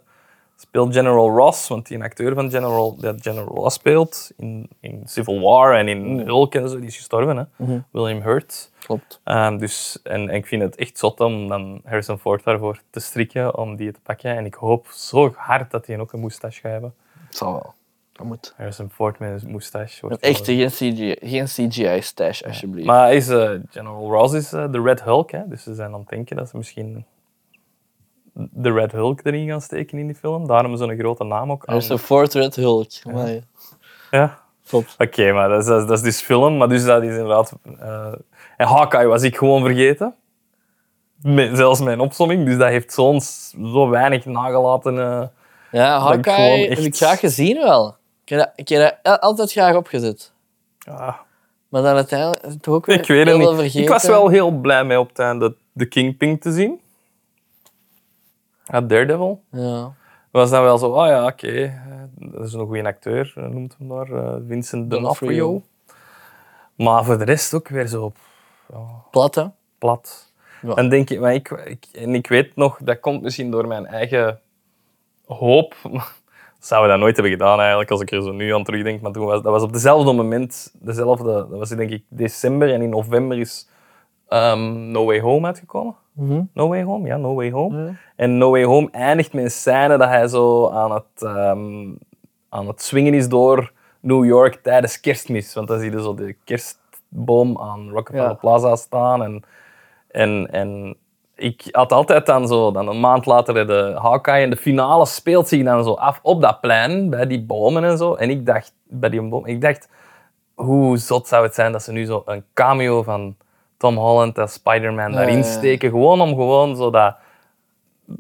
A: Speelt General Ross, want die een acteur van General, dat General Ross speelt in, in Civil War en
B: Mm.
A: in Hulk en zo, die is gestorven, hè?
B: Mhm.
A: William Hurt.
B: Klopt.
A: Ehm, dus, en, en ik vind het echt zot om dan Harrison Ford daarvoor te strikken, om die te pakken. En ik hoop zo hard dat hij ook een moustache gaat hebben.
B: Het zal wel. Dat moet.
A: Harrison Ford met een moustache. wordt wel-
B: Echt, geen CGI, geen CGI stash, alsjeblieft.
A: Maar hij is, eh, General Ross is eh, de Red Hulk, hè? dus ze zijn aan het denken dat ze misschien de Red Hulk erin gaan steken in die film. Daarom zo'n grote naam ook.
B: er is een Fortred Hulk. Amai.
A: Ja.
B: Klopt.
A: Oké, maar dat is, dat, is, dat is dus film, maar dus dat is inderdaad... eh, en Hawkeye was ik gewoon vergeten. Met- zelfs mijn opsomming, dus dat heeft zo'n zo weinig nagelaten... eh,
B: Ja,
A: ik gewoon
B: Hawkeye
A: echt-
B: heb ik graag gezien wel. Ik heb dat, ik heb dat el- altijd graag opgezet.
A: ja,
B: Maar dan uiteindelijk is het ook weer
A: ik weet het
B: heel
A: niet.
B: veel vergeten.
A: Ik was wel heel blij mee op het einde de Kingpin te zien. Ja, Daredevil.
B: Ja.
A: was dan wel zo, ah ja, oké, eh, dat is een goede acteur, eh, noemt hem daar, eh, Vincent D'Onofrio.
B: D'Onofrio.
A: Maar voor de rest ook weer zo
B: Plat, hè?
A: plat.
B: Ja.
A: En, denk ik, maar ik, ik- en ik weet nog, dat komt misschien door mijn eigen hoop. Zouden we dat nooit hebben gedaan eigenlijk, als ik er zo nu aan terugdenk. Maar toen was, dat was op dezelfde moment, dezelfde, dat was denk ik december en in november is ehm, No Way Home uitgekomen.
B: Mhm.
A: No Way Home, ja, No Way Home. En No Way Home eindigt met een scène dat hij zo aan het, ehm, aan het swingen is door New York tijdens kerstmis. Want dan zie je zo de kerstboom aan Rockefeller
B: Ja.
A: Plaza staan. En, en, en ik had altijd dan zo, dan een maand later de Hawkeye en de finale speelt zich dan zo af op dat plein, bij die bomen en zo. En ik dacht, bij die boom, ik dacht, hoe zot zou het zijn dat ze nu zo een cameo van Tom Holland en Spider-Man daarin
B: ja, ja.
A: steken. Gewoon om gewoon zo dat...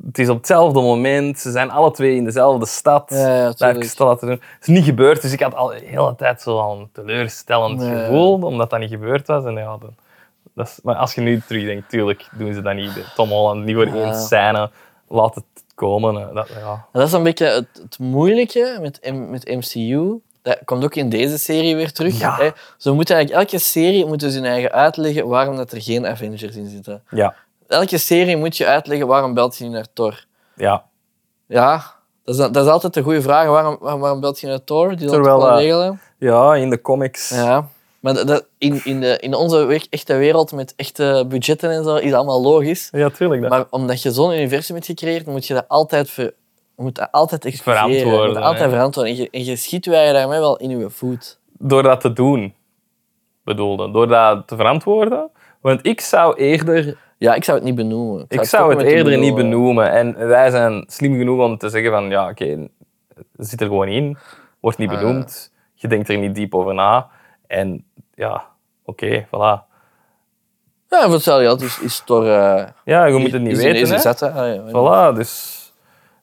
A: Het is op hetzelfde moment, ze zijn alle twee in dezelfde stad.
B: Ja, ja,
A: dat heb ik
B: tuurlijk.
A: stel laten doen. Het is niet gebeurd, dus ik had al de hele tijd zo al een teleurstellend
B: Ja, ja.
A: gevoel, omdat dat niet gebeurd was. En ja, dan, dat is, maar als je nu terugdenkt, tuurlijk doen ze dat niet. Tom Holland, niet voor één scène, laat het komen. eh, Dat, ja.
B: En dat is een beetje het, het moeilijke met, M- met MCU. Dat komt ook in deze serie weer terug.
A: Ja.
B: Hè? Ze moeten eigenlijk elke serie moeten ze hun eigen uitleggen waarom dat er geen Avengers in zitten.
A: Ja,
B: Elke serie moet je uitleggen waarom belt hij nu naar Thor.
A: ja.
B: Ja, dat is, dat is altijd de goede vraag. Waarom, waarom, waarom belt hij naar Thor? Die
A: Terwijl,
B: Terwijl, dat
A: eh,
B: wel regelen.
A: ja, in de comics.
B: Ja. Maar dat, dat- in, in, de, in onze we- echte wereld met echte budgetten en zo is dat allemaal logisch.
A: Ja, tuurlijk. Dat.
B: Maar omdat je zo'n universum hebt gecreëerd, moet je dat altijd, ver, moet dat altijd expliceren.
A: Verantwoorden,
B: Moet dat altijd
A: hè.
B: verantwoorden. En je, en je schiet je eigen daarmee wel in je voet.
A: door dat te doen, bedoelde. Door dat te verantwoorden. Want ik zou eerder
B: Ja, ik zou het niet benoemen.
A: Ik zou het
B: toch met
A: eerder
B: u
A: niet benoemen. En wij zijn slim genoeg om te zeggen van ja, oké, het zit er gewoon in. Wordt niet
B: Ah,
A: benoemd. Je denkt er niet diep over na. En ja, oké, voilà.
B: Ja, voor hetzelfde geld is, is Thor... eh,
A: Ja, je moet het niet
B: is
A: weten.
B: ineens
A: hè.
B: gezet, hè. Ah, ja.
A: Voilà, dus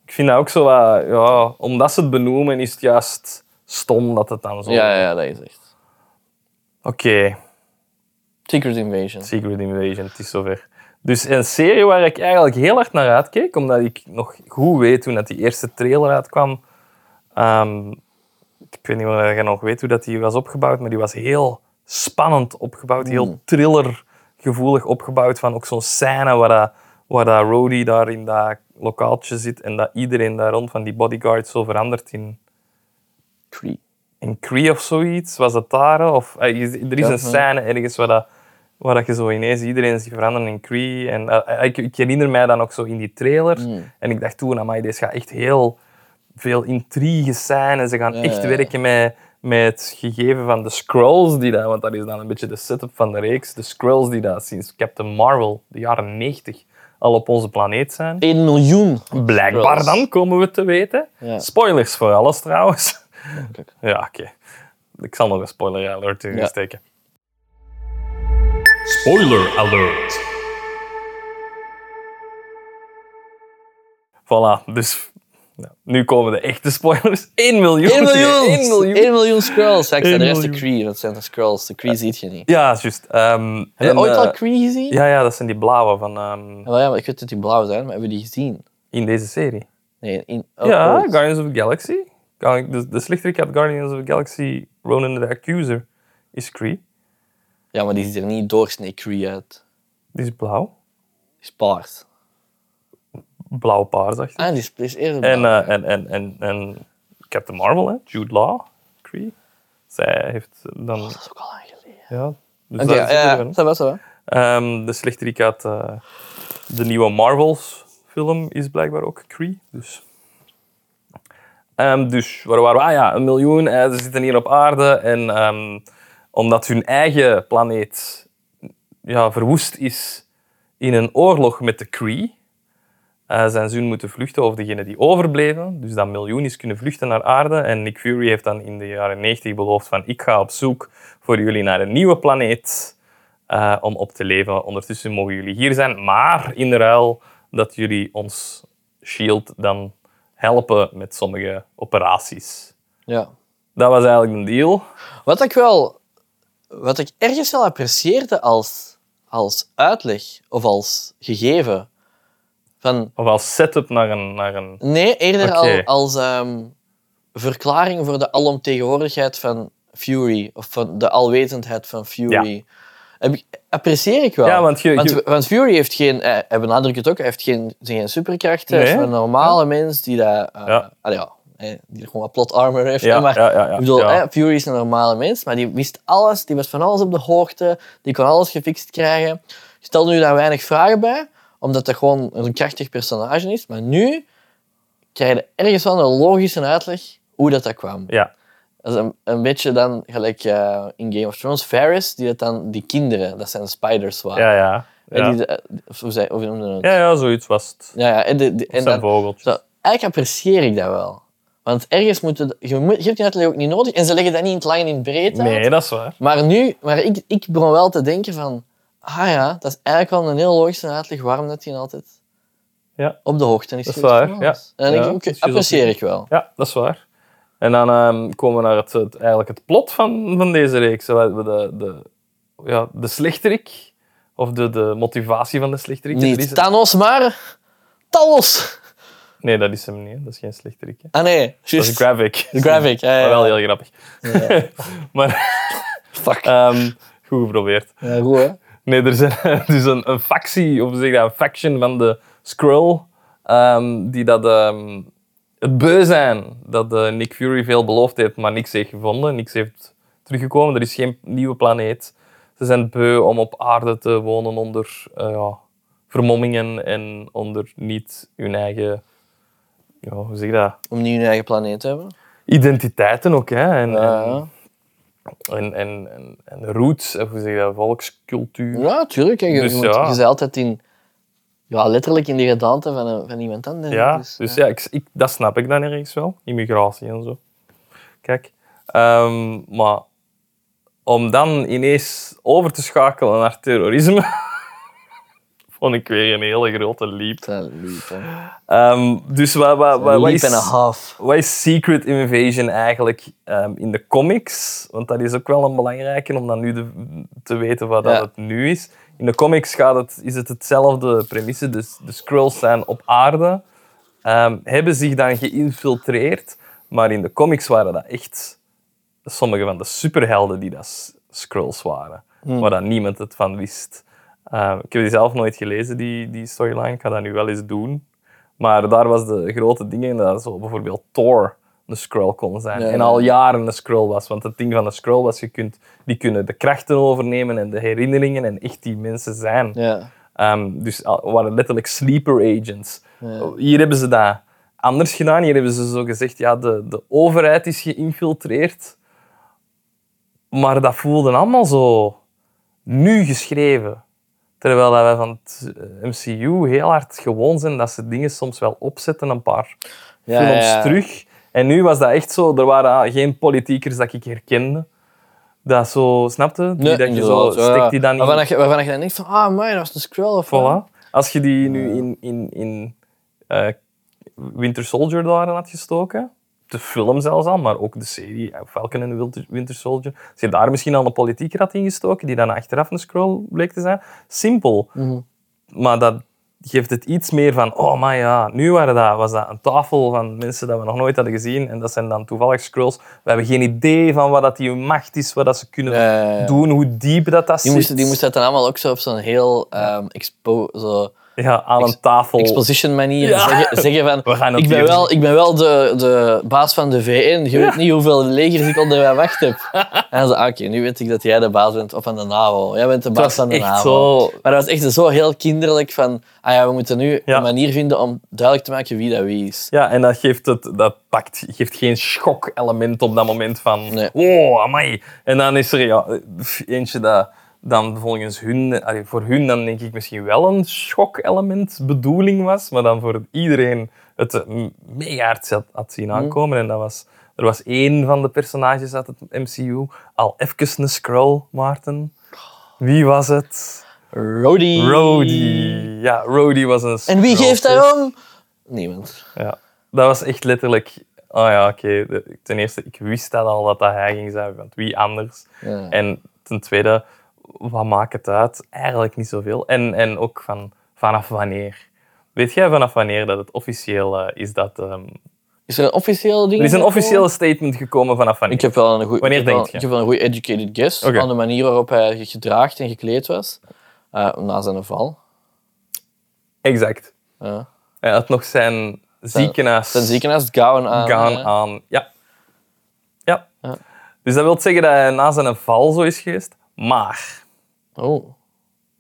A: ik vind dat ook zo wat... Ja, omdat ze het benoemen is het juist stom dat het dan zo...
B: ja, ja, dat is echt.
A: Oké,
B: Secret Invasion.
A: Secret Invasion, het is zover. Dus een serie waar ik eigenlijk heel hard naar uitkeek, omdat ik nog goed weet toen dat die eerste trailer uitkwam. Ehm, ik weet niet of je nog weet hoe dat die was opgebouwd, maar die was heel spannend opgebouwd, heel
B: Mm.
A: thrillergevoelig opgebouwd. Van ook zo'n scène waar, dat, waar dat Rhodey daar in dat lokaaltje zit en dat iedereen daar rond van die bodyguards zo verandert in
B: Cree.
A: in Cree of zoiets, was dat daar? hè? Of, eh, je- er is
B: Ja,
A: een
B: ja.
A: scène ergens waar, dat, waar dat je zo ineens iedereen ziet veranderen in Cree. En, eh, ik, ik herinner mij dan ook zo in die trailer.
B: Mm.
A: En ik dacht toen, amai, deze gaat echt heel veel intrigue zijn. En ze gaan
B: Ja,
A: echt
B: ja, ja.
A: werken met, met het gegeven van de Skrulls. Die dat, want dat is dan een beetje de setup van de reeks. De Skrulls die dat sinds Captain Marvel, de jaren 90, al op onze planeet zijn.
B: 1 miljoen.
A: Blijkbaar dan, komen we te weten.
B: Ja.
A: Spoilers voor alles trouwens.
B: kijk.
A: Ja, oké. Ik zal nog een spoiler alert in
B: Ja.
A: steken.
C: Spoiler alert!
A: Voilà, dus ja, nu komen de echte spoilers. 1 miljoen.
B: 1 miljoen!
A: 1 miljoen.
B: 1 miljoen scrolls. Ja, ik zei de
A: 1
B: rest de
A: miljoen.
B: Cree, dat zijn de scrolls. De Cree ziet je niet.
A: Ja, juist. Ehm, en,
B: Heb je ooit
A: eh,
B: al Cree gezien?
A: ja, ja, dat zijn die blauwe van ehm,
B: Wel ja, maar ik weet dat die blauw zijn, maar hebben we die gezien?
A: in deze serie.
B: Nee, in... oh,
A: ja,
B: ooit.
A: Guardians of the Galaxy. Ga- De, de slechterik uit Guardians of the Galaxy, Ronan the Accuser, is Cree.
B: ja, maar die ziet er niet doorsnee Cree uit.
A: Die is blauw.
B: Die is paars.
A: blauw-paars achter.
B: Ah, die is, die is eerder
A: En,
B: blauw.
A: eh, en, en, en, en Captain Marvel, hè, Jude Law, Cree. Zij heeft dan...
B: Dat is ook al lang geleden.
A: Ja, dus
B: Oké,
A: daar zit
B: ja,
A: er
B: ja,
A: een.
B: ça va, ça va.
A: Ehm, de slechterik uit eh, de nieuwe Marvels-film is blijkbaar ook Cree. Dus. Ehm, dus waar waren we? Ah ja, een miljoen. eh, ze zitten hier op aarde. En ehm, omdat hun eigen planeet ja, verwoest is in een oorlog met de Cree, eh, zijn ze hun moeten vluchten over degenen die overbleven. Dus dat miljoen is kunnen vluchten naar aarde. En Nick Fury heeft dan in de jaren 90 beloofd van ik ga op zoek voor jullie naar een nieuwe planeet eh, om op te leven. Ondertussen mogen jullie hier zijn, maar in de ruil dat jullie ons shield E dan helpen met sommige operaties.
B: Ja.
A: Dat was eigenlijk een deal.
B: Wat ik wel... Wat ik ergens wel apprecieerde als, als uitleg of als gegeven van...
A: Of als setup naar een... Naar een
B: Nee, eerder
A: Oké.
B: al als ehm, verklaring voor de alomtegenwoordigheid van Fury. Of van de alwetendheid van Fury. Heb ik, apprecieer ik wel.
A: Ja, want je-
B: want,
A: je-
B: want Fury heeft geen... eh, Hij benadrukt het ook, hij heeft geen, zijn geen superkrachten. Hij is
A: Nee.
B: een normale mens die dat... eh,
A: Ja.
B: allee, ja, eh, die gewoon wat plot armor heeft.
A: Ja,
B: hè, maar
A: ja, ja, ja,
B: ik bedoel,
A: ja.
B: hè, Fury is een normale mens, maar die wist alles. Die was van alles op de hoogte. Die kon alles gefixt krijgen. Je stelde nu daar weinig vragen bij, omdat dat gewoon een krachtig personage is. Maar nu krijg je ergens wel een logische uitleg hoe dat, dat kwam.
A: ja,
B: Dat is een, een beetje dan gelijk eh, in Game of Thrones. Varys, die dat dan, die kinderen, dat zijn spiders waren.
A: ja, ja.
B: En
A: Ja,
B: die, de- of hoe zei, hoe noemde het?
A: ja, ja zoiets was het.
B: Ja, ja, en, de, de- en
A: Of zijn
B: dan-
A: vogeltjes.
B: zo, eigenlijk apprecieer ik dat wel. Want ergens moeten... de- Je, moet, je hebt die uitleg ook niet nodig. En ze leggen dat niet in het lang en in het breed uit.
A: Nee, dat is waar.
B: Maar nu... Maar ik, ik begon wel te denken van... Ah ja, dat is eigenlijk wel een heel logische uitleg waarom dat hij altijd
A: Ja.
B: op de hoogte is
A: Dat is
B: geweest
A: waar,
B: van
A: ja.
B: alles. En
A: Ja,
B: ik,
A: dat is
B: ik
A: filosofie.
B: apprecieer ik wel.
A: Ja, dat is waar. En dan ehm, komen we naar het, het- eigenlijk het plot van, van deze reeks. We hebben de, de, ja, de slechterik, of de, de motivatie van de slechterik. dat is
B: Niet Thanos, maar... Talos!
A: Nee, dat is hem niet. hè. Dat is geen slechterik. hè.
B: Ah nee,
A: Dat is
B: juist.
A: een graphic.
B: De graphic, ja, ja,
A: Maar wel
B: ja.
A: heel grappig. maar
B: Fuck.
A: ehm, goed geprobeerd.
B: Ja, goed, hè?
A: Nee, er zijn dus een, een factie, of zeg dat, een faction van de Skrull, ehm, die dat, ehm, het beu zijn dat eh, Nick Fury veel beloofd heeft, maar niks heeft gevonden, niks heeft teruggekomen. Er is geen nieuwe planeet. Ze zijn beu om op aarde te wonen onder eh, ja, vermommingen en onder niet hun eigen... Ja, hoe zeg je dat?
B: Om niet hun eigen planeet te hebben.
A: Identiteiten ook, hè. En,
B: Ja,
A: en, en, en, en roots, of hoe zeg je dat, volkscultuur.
B: ja tuurlijk. hè. Je,
A: Dus
B: je
A: ja.
B: moet, je bent altijd in... Ja, letterlijk in de gedaante van, een- van iemand anders.
A: Ja,
B: dus,
A: dus
B: ja.
A: ja, ik, ik, dat snap ik dan ergens wel. Immigratie en zo. Kijk. ehm, maar om dan ineens over te schakelen naar terrorisme, vond ik weer een hele grote leap.
B: Dat liep, hè.
A: Ehm, dus wat, wat, wat, wat
B: Liep en een
A: is,
B: half.
A: wat is Secret Invasion eigenlijk ehm, in de comics? Want dat is ook wel een belangrijke om dan nu de- te weten wat dat
B: Ja.
A: het nu is. In de comics gaat het, is het hetzelfde premisse. Dus de Skrulls zijn op aarde, ehm, hebben zich dan geïnfiltreerd. Maar in de comics waren dat echt sommige van de superhelden die dat s- Skrulls waren.
B: Hmm.
A: Waar dan niemand het van wist. Ehm, ik heb die zelf nooit gelezen, die, die storyline. Ik ga dat nu wel eens doen. Maar daar was de grote dingen dat zo bijvoorbeeld Thor een Skrull kon zijn.
B: Ja,
A: en
B: ja.
A: al jaren een Skrull was. Want het ding van de Skrull was, je kunt, die kunnen de krachten overnemen en de herinneringen en echt die mensen zijn.
B: Ja.
A: Ehm, dus al- waren letterlijk sleeper agents. Hier hebben ze dat anders gedaan. Hier hebben ze zo gezegd, ja, de, de overheid is geïnfiltreerd. Maar dat voelde allemaal zo nu geschreven. Terwijl dat wij van het eh, MCU heel hard gewoon zijn dat ze dingen soms wel opzetten, een paar
B: Ja,
A: films
B: ja.
A: terug. En nu was dat echt zo, er waren geen politiekers dat ik herkende. Dat zo, snapte? Die
B: Nee,
A: dat je zo,
B: inderdaad, ja.
A: steekt die dan in
B: waarvan, dat je, waarvan dat je dan denkt van, ah, maar dat is een scroll of wat.
A: Voilà. Als je die nu in, in, in eh, Winter Soldier daarin had gestoken, de film zelfs al, maar ook de serie eh, Falcon en Winter, Winter Soldier, als je daar misschien al een politieker had ingestoken, die dan achteraf een scroll bleek te zijn, simpel.
B: Mhm.
A: Maar dat geeft het iets meer van, oh maar ja, nu waren dat, was dat een tafel van mensen dat we nog nooit hadden gezien en dat zijn dan toevallig scrolls. We hebben geen idee van wat dat die macht is, wat dat ze kunnen
B: Ja, ja, ja.
A: doen, hoe diep dat dat
B: Die
A: zit.
B: moest, die moest dat dan allemaal ook zo op zo'n heel ehm expo... Zo,
A: Ja, aan een tafel.
B: Exposition manier.
A: Ja.
B: Zeggen, zeggen van,
A: We gaan het
B: ik ben
A: hier
B: wel, ik ben wel de, de baas van de VN. Je weet niet hoeveel legers ik onder mijn wacht heb. En dan zo, ah, oké, nu weet ik dat jij de baas bent of van de NAVO. Jij bent de
A: Het
B: baas
A: was
B: van de
A: echt
B: NAVO.
A: zo...
B: Maar dat was echt zo heel kinderlijk van, ah ja, we moeten nu
A: Ja.
B: een manier vinden om duidelijk te maken wie dat wie is.
A: Ja, en dat geeft, het, dat pakt, geeft geen schokelement op dat moment van...
B: Nee.
A: Oh, amai. En dan is er ja, pff, eentje dat dan volgens hun... allee, voor hun dan denk ik misschien wel een schokelement bedoeling was, maar dan voor iedereen het eh, m- mega hard had, had
B: Mhm.
A: zien aankomen. En dat was... Er was één van de personages uit het MCU. Al even een scroll, Maarten.
B: Oh.
A: Wie was het?
B: Rody.
A: Rhodey. Ja, Rhodey was een
B: En wie
A: scroll.
B: geeft daarom? Niemand.
A: Ja, dat was echt letterlijk. Oh ja, oké. de- Ten eerste, ik wist dat al dat dat hij ging zijn, want wie anders?
B: Ja.
A: En ten tweede, wat maakt het uit? Eigenlijk niet zoveel. En, en ook van vanaf wanneer? Weet jij vanaf wanneer dat het officieel eh, is dat. ehm,
B: Is er een officieel ding?
A: er is een
B: daarvoor?
A: officiële statement gekomen vanaf wanneer?
B: Ik heb wel een goeie,
A: Wanneer
B: ik heb wel-
A: denk je?
B: Ik heb wel een goede educated guess
A: Oké.
B: aan de manier waarop hij gedraagd en gekleed was eh, na zijn val.
A: Exact.
B: Ja.
A: Hij had nog zijn ziekenhuis.
B: Zijn ziekenhuisgown aan.
A: gaan
B: eh,
A: aan. Ja. ja.
B: Ja.
A: Dus dat wil zeggen dat hij na zijn val zo is geweest. Maar
B: Oh.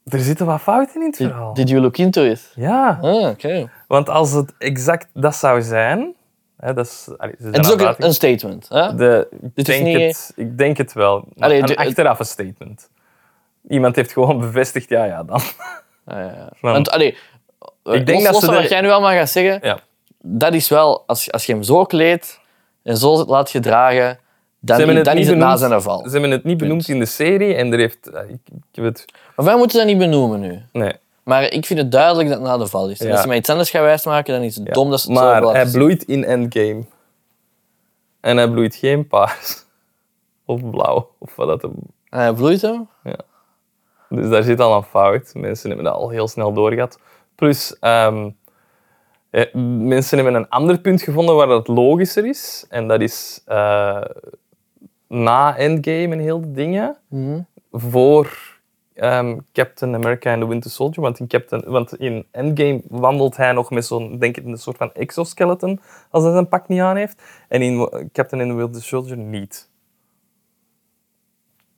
A: er zitten wat fouten in het verhaal.
B: Did you look into it?
A: Ja,
B: Ah, oké.
A: want als het exact dat zou zijn. Hè, dat is, allee, ze zijn
B: Het is ook
A: aan het
B: een, een statement. Hè?
A: uit- de, ik,
B: Dit is
A: denk
B: niet-
A: het, ik denk het wel. Maar
B: Allee,
A: een
B: de-
A: achteraf een statement. Iemand heeft gewoon bevestigd, ja, ja, dan.
B: Ah, ja, ja.
A: Maar-
B: Want, allee, ik
A: Nou. denk
B: denk
A: dat
B: dat
A: ze
B: wat
A: er-
B: jij nu allemaal gaat zeggen,
A: Ja.
B: dat is wel, als, als je hem zo kleedt en zo laat gedragen,
A: Ze
B: dan,
A: hebben het
B: dan
A: niet
B: is het na
A: benoemd.
B: zijn val.
A: Ze hebben het niet benoemd in de serie en er heeft... eh, Ik, ik heb het...
B: Maar wij moeten dat niet benoemen nu.
A: Nee.
B: Maar ik vind het duidelijk dat het na de val is. En
A: Ja.
B: als ze mij iets anders gaan wijsmaken, dan is het
A: Ja.
B: dom dat ze het zo
A: maar
B: hebben laten
A: hij
B: zien.
A: bloeit in Endgame. En hij bloeit geen paars. Of blauw. Of wat dat hem
B: Ah, Hij bloeit hem.
A: Dus daar zit al een fout. Mensen hebben dat al heel snel doorgehad. Plus, ehm, eh, mensen hebben een ander punt gevonden waar dat logischer is. En dat is eh, na Endgame en heel de dingen. Voor ehm, Captain America en de Winter Soldier. Want in, Captain, want in Endgame wandelt hij nog met zo'n, denk ik, een soort van exoskeleton. Als hij zijn pak niet aan heeft. En in Wa- Captain and the Winter Soldier niet.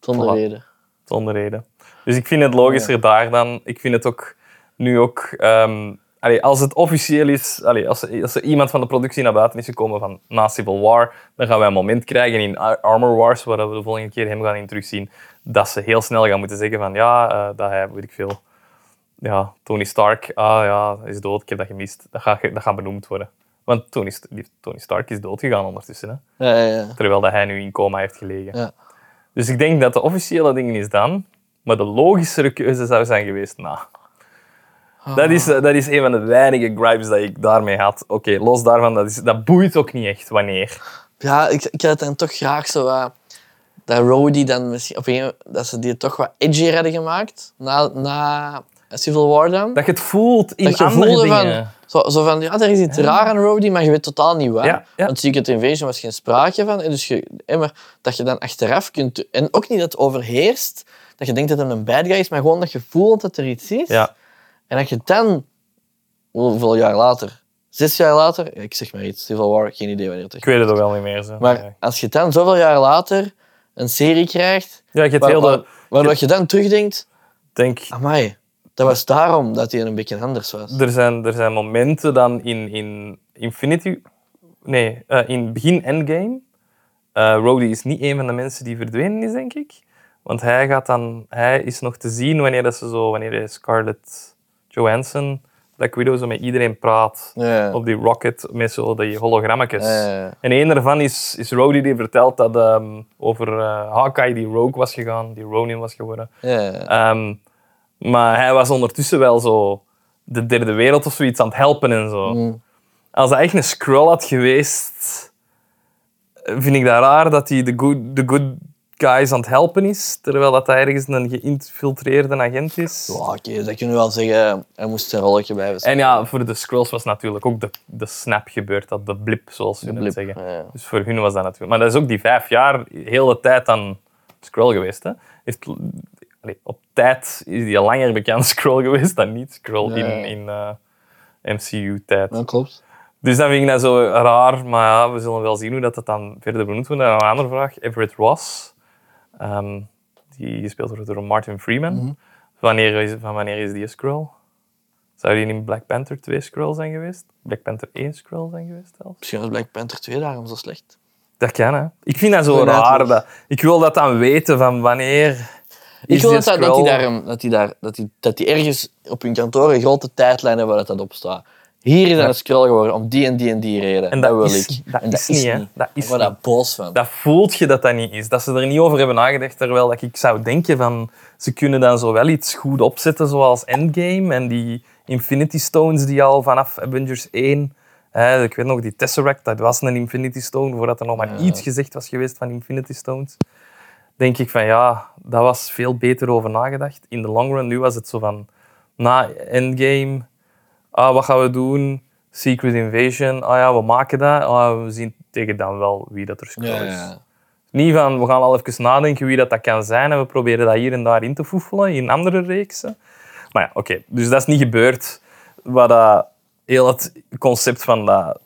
B: Zonder
A: Voilà.
B: reden.
A: zonder reden. Dus ik vind het logischer daar dan. Ik vind het ook nu ook. ehm, allee, als het officieel is, allee, als, er- als er iemand van de productie naar buiten is gekomen van na Civil War, dan gaan wij een moment krijgen in Ar- Armor Wars, waar we de volgende keer hem gaan in terugzien, dat ze heel snel gaan moeten zeggen van ja, eh, dat hij, weet ik veel, ja, Tony Stark, ah ja, is dood, ik heb dat gemist. Dat gaat, ge- dat gaat benoemd worden. Want Tony, St- die- Tony Stark is dood gegaan ondertussen, hè?
B: Ja, ja, ja.
A: terwijl dat hij nu in coma heeft gelegen.
B: Ja.
A: Dus ik denk dat de officiële ding is dan, maar de logischere keuze zou zijn geweest na. Dat is,
B: Ah.
A: eh, dat is een van de weinige gripes dat ik daarmee had. Oké, los daarvan, dat, is, dat boeit ook niet echt wanneer.
B: Ja, ik, ik had dan toch graag zo wat... Dat Rhodey dan misschien... Op een gegeven moment, dat ze die toch wat edgier hadden gemaakt. Na, na Civil War dan.
A: Dat je het voelt in
B: Dat je
A: andere
B: voelde van,
A: dingen.
B: zo, zo van... Ja, er is iets raar aan Rhodey, maar je weet totaal niet waar.
A: Ja, ja.
B: Want Secret Invasion was geen sprake van. En dus je, hè, maar dat je dan achteraf kunt... En ook niet dat het overheerst. Dat je denkt dat het een bad guy is, maar gewoon dat je voelt dat er iets is.
A: Ja,
B: En dat je dan, hoeveel jaar later, zes jaar later, ik zeg maar iets, Civil War, geen idee wanneer het
A: ik
B: echt
A: weet het ook wel niet meer. Zo.
B: Maar als je dan zoveel jaar later een serie krijgt,
A: ja, je hebt
B: waar,
A: heel
B: waar,
A: de...
B: waardoor je dan terugdenkt,
A: Denk,
B: amai, dat was daarom dat hij een beetje anders was.
A: er, zijn, er zijn momenten dan in, in Infinity... Nee, eh, in begin Endgame. eh Rhodey is niet een van de mensen die verdwenen is, denk ik. Want hij, gaat dan, hij is nog te zien wanneer, dat ze zo, wanneer hij Scarlett Johansson, Black Widow, zo met iedereen praat.
B: Ja.
A: Op die rocket met zo die hologrammetjes.
B: Ja, ja, ja.
A: En een daarvan is, is Rhodey die vertelt dat ehm, over eh, Hawkeye die rogue was gegaan, die Ronin was geworden.
B: Ja.
A: Ehm, maar hij was ondertussen wel zo de derde wereld of zoiets aan het helpen en zo. Als hij echt een scroll had geweest, eh, vind ik dat raar dat hij de good, de good guys aan het helpen is, terwijl dat hij ergens een geïnfiltreerde agent is.
B: Ja, Oké, dat kunnen we wel zeggen, hij moest zijn rolletje blijven
A: En ja, voor de Skrulls was natuurlijk ook de, de snap gebeurd, dat de blip, zoals ze het
B: blip,
A: zeggen.
B: ja.
A: Dus voor hun was dat natuurlijk. Maar dat is ook die vijf jaar, heel de tijd aan Skrull geweest. Hè? Heeft allee, op tijd is die langer bekend Scroll geweest dan niet Scroll
C: Ja, ja.
A: in, in eh, MCU-tijd.
C: Dat klopt.
A: Dus dan vind ik dat zo raar, maar ja, we zullen wel zien hoe dat, dat dan verder benoemd wordt. En dan een andere vraag, Everett Ross, ehm, die gespeeld wordt door Martin Freeman.
B: Mhm.
A: wanneer is, van wanneer is die Skrull? Zou die in Black Panther 2 Skrull zijn geweest? Black Panther 1 Skrull zijn geweest zelfs?
B: Misschien was Black Panther 2 daarom zo slecht.
A: Dat kan, hè. Ik vind dat zo
C: Inderdaad,
A: raar.
C: hoor.
A: Dat, ik wil dat dan weten, van wanneer...
B: Ik
A: is
B: wil
A: die
B: dat, dat, dat
A: Skrull-
B: die daar, dat, die daar, dat, die, dat die ergens op hun kantoor een grote tijdlijn hebben waar dat op staat. Hier is dat een scroll geworden om die en die en die reden.
A: En
B: En
A: dat
B: dat, wil
A: is-
B: ik.
A: dat
B: en
A: is niet, hè. Dat is
B: ik word daar
A: niet.
B: boos van.
A: Dat voelt je dat dat niet is. Dat ze er niet over hebben nagedacht, terwijl dat ik zou denken van... Ze kunnen dan zo wel iets goed opzetten, zoals Endgame en die Infinity Stones die al vanaf Avengers 1... Hè, ik weet nog, die Tesseract, dat was een Infinity Stone, voordat er nog maar iets gezegd was geweest van Infinity Stones. Denk ik van, ja, dat was veel beter over nagedacht. In de long run, nu was het zo van... Na Endgame... ah, wat gaan we doen? Secret Invasion, ah ja, we maken dat. Ah, we zien tegen dan wel wie dat er Skrull
B: Ja,
A: is.
B: ja.
A: Niet van, we gaan al even nadenken wie dat, dat kan zijn en we proberen dat hier en daar in te foefelen in andere reeksen. Maar ja, oké. Dus dat is niet gebeurd. Wat dat, heel het concept van dat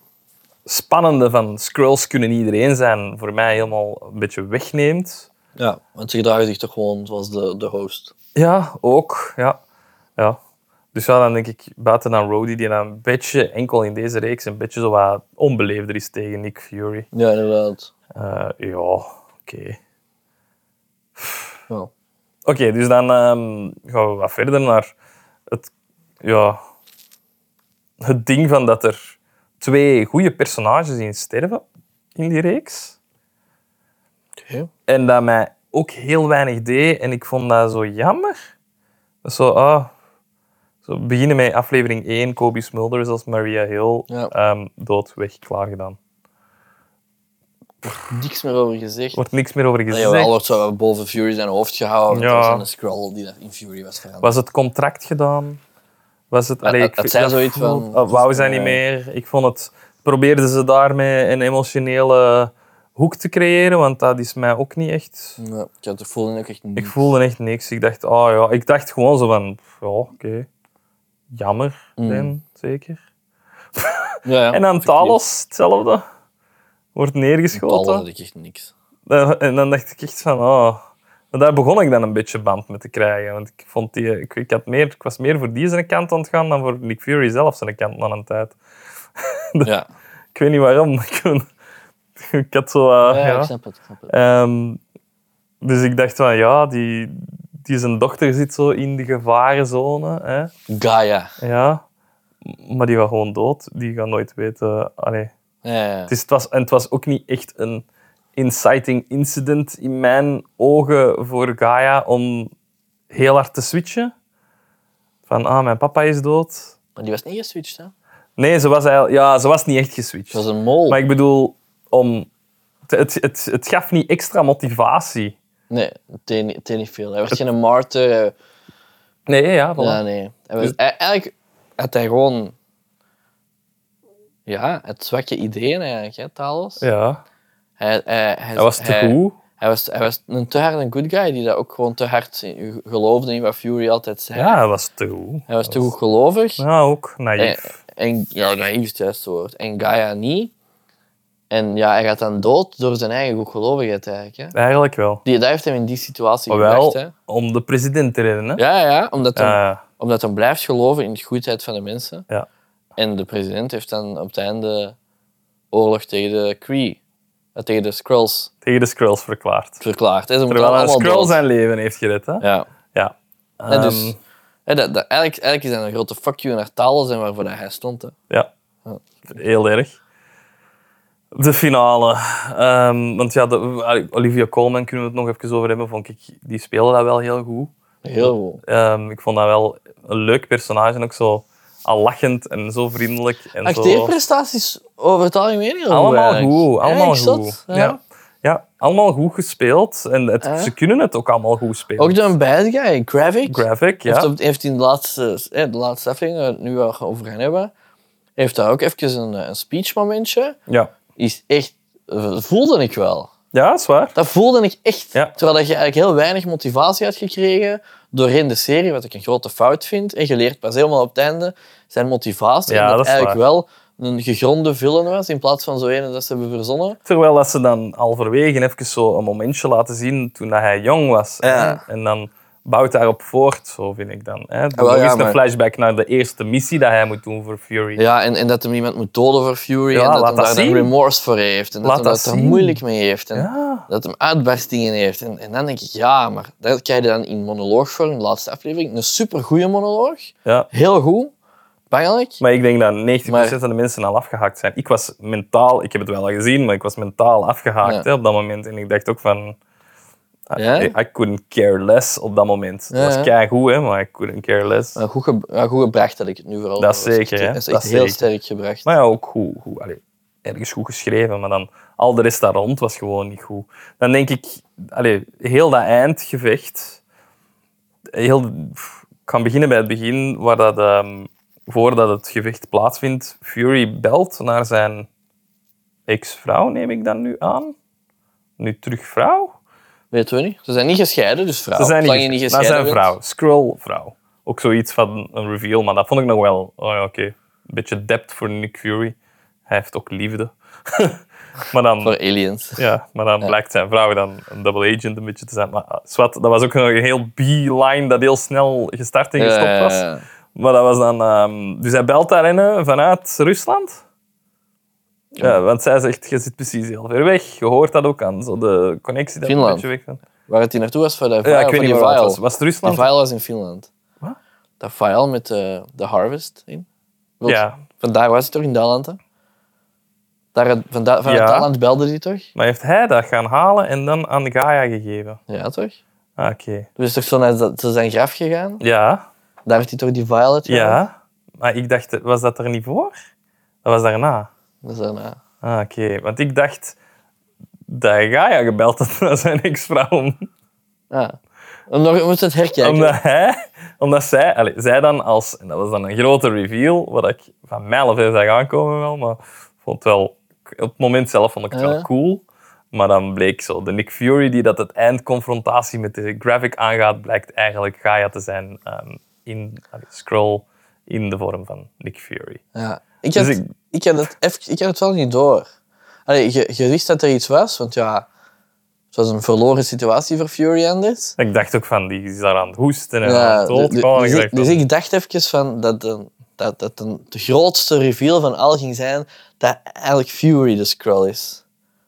A: spannende van scrolls kunnen iedereen zijn, voor mij helemaal een beetje wegneemt.
B: Ja, want ze gedragen zich toch gewoon zoals de, de host.
A: Ja, ook. Ja. Ja. Dus ja, dan denk ik, buiten dan Rhodey, die dan een beetje, enkel in deze reeks, een beetje zo wat onbeleefder is tegen Nick Fury.
B: Ja, inderdaad.
A: Eh, ja, oké.
B: Ja.
A: Oké, dus dan ehm, gaan we wat verder naar het, ja, het ding van dat er twee goede personages in sterven in die reeks.
B: Oké.
A: En dat mij ook heel weinig deed en ik vond dat zo jammer. Dat is Zo, ah, zo beginnen met aflevering 1, Kobe Smulders als Maria Hill,
B: Ja.
A: ehm, dood, weg, klaar gedaan.
B: Niks meer over gezegd.
A: Er wordt niks meer over gezegd.
B: Ja, wel wordt zo boven Fury zijn hoofd gehouden.
A: Ja.
B: Ja. Dat was een scroll die dat in Fury was veranderd.
A: Was het contract gedaan? Was het... allee,
B: het-
A: ik
B: Eh,
A: vind-
B: het zijn
A: dat
B: zoiets
A: voelt-
B: van-
A: dat wou zij niet
B: Ja.
A: meer. Ik vond het... Probeerden ze daarmee een emotionele hoek te creëren, want dat is mij ook niet echt...
B: Ja, ik had het voelde ook echt niet.
A: Ik voelde echt niks. Ik dacht, ah ja, ik dacht gewoon zo van, pff, ja, oké. Jammer, dan, zeker.
B: Ja, Mm. ja.
A: En dan
B: Effectief.
A: Talos, hetzelfde. Wordt
B: Talos
A: neergeschoten.
B: had ik echt niks.
A: Dan- En dan dacht ik echt van, oh. Maar daar begon ik dan een beetje band mee te krijgen. Want ik, vond die, ik, ik, had meer, ik was meer voor die zijn kant aan het gaan dan voor Nick Fury zelf zijn kant aan een tijd.
B: Ja,
A: Ik weet niet waarom. maar Ik, kon- ik had zo... eh,
B: ja,
A: ja.
B: ik snap het. Ik snap het.
A: Ehm, dus ik dacht van, ja, die, die zijn dochter zit zo in de gevarenzone. Hè?
B: Gaia.
A: Ja. Maar die was gewoon dood. Die gaat nooit weten... Allee.
B: Ja, ja, ja.
A: Het is, het was, en het was ook niet echt een inciting incident in mijn ogen voor Gaia om heel hard te switchen. Van, ah, mijn papa is dood.
B: Maar die was niet geswitcht, hè?
A: Nee, ze was, eigenlijk, ja, ze was niet echt
B: Dat was
A: geswitcht.
B: een mol.
A: Maar ik bedoel, om, het, het, het gaf niet extra motivatie.
B: Nee, het deed niet veel. Hij werd geen martyr. hij-
A: Nee, ja, voilà. Dus-
B: Ja, nee. Hij was, hij- eigenlijk had hij gewoon... Ja, het zwakke ideeën eigenlijk, hè, Talos.
A: Ja.
B: Hij, hij, hij,
A: Dat was te
B: hij-
A: goed.
B: Hij was, hij was een te hard een good guy die dat ook gewoon te hard in- geloofde in wat Fury altijd zei.
A: Ja, dat was te goed.
B: Hij was te goed gelovig.
A: Ja, ook
B: En,
A: naïef.
B: en, ja, naïef is het juiste woord. En Gaia niet. En ja, hij gaat dan dood door zijn eigen goedgelovigheid eigenlijk. Hè.
A: Eigenlijk wel.
B: Die, dat heeft hem in die situatie
A: Maar wel,
B: gebracht. Hè.
A: om de president te redden, hè.
B: Ja, ja, omdat hij
A: Eh,
B: omdat hij blijft geloven in de goedheid van de mensen.
A: Ja.
B: En de president heeft dan op het einde oorlog tegen de Kree, eh, tegen de Skrulls
A: tegen de Skrulls verklaard.
B: verklaard. hè. Ze moeten
A: Terwijl een
B: allemaal
A: Skrull
B: dood.
A: zijn leven heeft gered, hè.
B: Ja.
A: Ja.
B: En dus,
A: Ehm,
B: hè, dat, dat- eigenlijk, eigenlijk is dat een grote fuck you naar Talos en waarvoor dat hij stond. Hè.
A: ja.
B: Ja.
A: Heel erg. De finale. Ehm, want ja, de, Olivia Colman kunnen we het nog even over hebben. Vond ik, die speelde dat wel heel goed.
B: Heel goed.
A: Ehm, ik vond dat wel een leuk personage. En ook zo al lachend en zo vriendelijk. En zo...
B: Acteerprestaties over het algemeen heel
A: Allemaal
B: eigenlijk.
A: goed. Allemaal
B: Eigenlijk zot,
A: goed.
B: ja.
A: Ja. ja, allemaal goed gespeeld. En het,
B: Ja.
A: ze kunnen het ook allemaal goed spelen.
B: Ook de bad guy, Gravik.
A: Graphic,
B: Heeft,
A: ja.
B: op- heeft in de laatste, eh, de laatste aflevering, waar we het nu wel over gaan hebben, heeft daar ook even een, eh, een speechmomentje.
A: ja.
B: Is echt, eh, voelde ik wel.
A: Ja, dat is waar.
B: Dat voelde ik echt.
A: Ja.
B: Terwijl dat je eigenlijk heel weinig motivatie had gekregen doorheen de serie, wat ik een grote fout vind. En je leert pas helemaal op het einde zijn motivatie.
A: Ja,
B: en dat,
A: dat is
B: eigenlijk wel een gegronde villain was, in plaats van zo ene dat ze hebben verzonnen.
A: Terwijl dat ze dan halverwege even zo een momentje laten zien toen dat hij jong was.
C: Ja. Ah,
A: En dan bouwt daarop voort, zo vind ik dan. Hè. Doe
C: wel,
A: nog
C: ja,
A: eens een
C: maar-
A: flashback naar de eerste missie dat hij moet doen voor Fury.
B: Ja, en, en dat hem iemand moet doden voor Fury.
A: Ja,
B: en dat
A: laat
B: hem
A: dat
B: daar dan
A: zien.
B: remorse voor heeft. En dat
A: Laat
B: hem
A: dat
B: dat er
A: zien.
B: moeilijk mee heeft. En
A: Ja.
B: dat hem uitbarstingen heeft. En, en dan denk ik, ja, maar dat krijg je dan in monoloogvorm, de laatste aflevering. Een supergoeie monoloog.
A: Ja.
B: Heel goed. Bangelijk.
A: Maar ik denk dat 90%
B: Maar-
A: van de mensen al afgehaakt zijn. Ik was mentaal, ik heb het wel al gezien, maar ik was mentaal afgehaakt
B: Ja.
A: hè, op dat moment. En ik dacht ook van... I,
B: Ja?
A: I couldn't care less op dat moment.
B: Ja,
A: dat
B: ja.
A: was keigoed, hè, maar I couldn't care less.
B: Maar Eh, goed, ge- ja, goed gebracht dat ik het nu vooral.
A: Dat is
B: hoor.
A: zeker, hè?
B: Dat is echt
A: Dat
B: heel
A: is zeker.
B: sterk gebracht.
A: Maar ja, ook goed. goed allee, ergens goed geschreven, maar dan al de rest daar rond was gewoon niet goed. Dan denk ik, allee, heel dat eindgevecht. Heel, pff, ik kan beginnen bij het begin, waar dat, ehm, voordat het gevecht plaatsvindt, Fury belt naar zijn ex-vrouw, neem ik dan nu aan. Nu terug vrouw?
B: Weten we niet? Ze zijn niet gescheiden, dus vrouw. Zolang je niet
A: naar
B: gescheiden
A: zijn
B: bent.
A: vrouw, Skrull vrouw. Ook zoiets van een reveal, maar dat vond ik nog wel. Oh ja, oké. Een beetje depth voor Nick Fury. Hij heeft ook liefde. maar dan,
B: Voor aliens.
A: ja, maar dan blijkt zijn vrouw dan een double agent een beetje te zijn. Maar ah, zwart, dat was ook nog een heel B-line dat heel snel gestart en gestopt was.
B: Ja, ja, ja.
A: Maar dat was dan... ehm, dus hij belt daarin hè, vanuit Rusland. Ja, want zij zegt, je zit precies heel ver weg. Je hoort dat ook aan, zo de connectie dat
B: Finland.
A: een beetje weg van-
B: Waar het hier naartoe was voor dat
A: Ja,
B: file,
A: ik weet
B: voor
A: niet
B: die
A: waar het
B: file.
A: was. Was het
B: Die
A: Rusland?
B: file was in Finland.
A: Wat?
B: Dat file met eh, de harvest in. Want
A: Ja,
B: Vandaar was het toch in Daland, hè? Daar, had- vanda- vanuit
A: Ja.
B: Daland belde die toch?
A: Maar heeft hij dat gaan halen en dan aan Gaia gegeven?
B: Ja, toch?
A: Ah, Oké.
B: Dus is toch zo naar z- zijn graf gegaan?
A: Ja,
B: Daar heeft hij toch die file uitgehaald?
A: ja. Maar ik dacht, was dat er niet voor? Dat was daarna.
B: Dat is eh, daarna.
A: Ah, Oké, want ik dacht dat Gaia gebeld had naar zijn ex-vrouw. om-
B: Ah. Om nog, we moeten het herkijken.
A: Omdat, hij, omdat zij, allez, zij dan als, en dat was dan een grote reveal, wat ik van mijzelf zag aankomen wel, maar vond het wel, op het moment zelf vond ik het
B: Ja.
A: wel cool. Maar dan bleek zo, de Nick Fury die dat het eindconfrontatie met de graphic aangaat, blijkt eigenlijk Gaia te zijn ehm, in allee, Scroll in de vorm van Nick Fury.
B: Ja. Ik, had,
A: Dus
B: ik...
A: ik-
B: had het eff- ik had het wel niet door. Allee, je, je wist dat er iets was, want ja, het was een verloren situatie voor Fury Anders.
A: Ik dacht ook van, die is daar aan het hoesten en aan
B: Ja,
A: het
B: du- du-
A: doodgaan. Ik
B: dus, ik,
A: dacht
B: dus
A: van,
B: ik dacht even van dat, de, dat, dat de, de grootste reveal van al ging zijn dat eigenlijk Fury de Skrull is.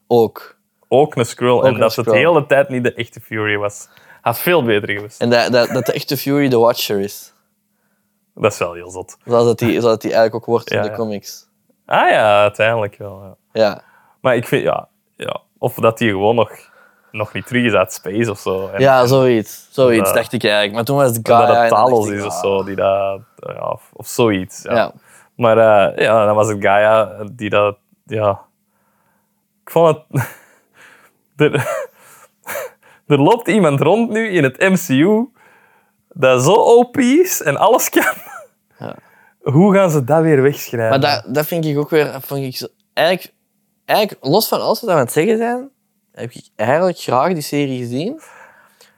B: Ook.
A: Ook een Skrull. En
B: een
A: dat het de
B: Skrull.
A: hele tijd niet de echte Fury was. Had veel beter geweest.
B: En dat, dat, dat de echte Fury de Watcher is.
A: Dat is wel heel zot.
B: Zoals dat die, zoals dat die eigenlijk ook wordt in
A: Ja,
B: de
A: ja.
B: comics.
A: Ah ja, uiteindelijk wel. Ja.
B: Ja.
A: Maar ik vind, ja, ja. Of dat hij gewoon nog, nog niet terug is uit space of zo. En
B: ja, zoiets. Zoiets
A: Ja.
B: dacht ik eigenlijk. Maar toen was het Gaia.
A: dat
B: en
A: het
B: dan
A: Talos
B: dacht
A: is
B: ik,
A: of
B: ah,
A: zo, die dat, ja, of, of zoiets. Ja.
B: Ja.
A: Maar eh, ja, dan was het Gaia die dat, ja. Ik vond het. er, er loopt iemand rond nu in het MCU dat zo OP is en alles kan.
B: Ja.
A: Hoe gaan ze dat weer wegschrijven?
B: Maar dat, dat vind ik ook weer... dat Vond ik zo- eigenlijk, eigenlijk, los van alles wat we aan het zeggen zijn, heb ik eigenlijk graag die serie gezien.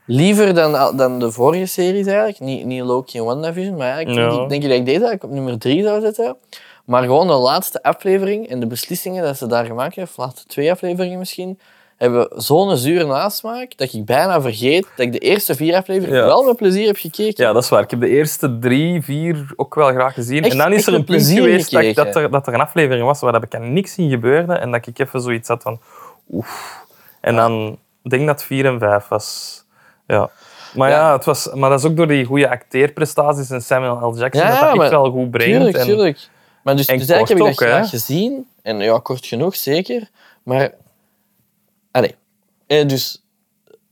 B: Liever dan, al- dan de vorige series eigenlijk. Niet, niet Loki en WandaVision, maar eigenlijk
A: Ja.
B: denk, ik, denk ik dat ik deze eigenlijk op nummer drie zou zetten. Maar gewoon de laatste aflevering en de beslissingen dat ze daar gemaakt hebben, of de laatste twee afleveringen misschien, hebben zo'n zure nasmaak dat ik bijna vergeet dat ik de eerste vier afleveringen
A: Ja.
B: wel met plezier heb gekeken.
A: Ja, dat is waar. Ik heb de eerste drie, vier ook wel graag gezien.
B: Echt-
A: en dan
B: echt
A: is er
B: met
A: een punt
B: plezier
A: geweest dat, ik-
B: gekeken.
A: dat, er, dat er een aflevering was waar dat ik aan niks in gebeurde en dat ik even zoiets had van oef. En dan ik denk dat het vier en vijf was. Ja. Maar ja,
B: Ja.
A: het was, maar dat is ook door die goede acteerprestaties en Samuel L. Jackson
B: Ja,
A: dat dat
B: maar-
A: echt wel goed brengt.
B: Tuurlijk,
A: en,
B: tuurlijk. Maar dus,
A: en
B: dus eigenlijk heb
A: kort
B: ik dat
A: ook, hè?
B: graag gezien. En ja, kort genoeg, zeker. Maar... Allee. Eh, dus...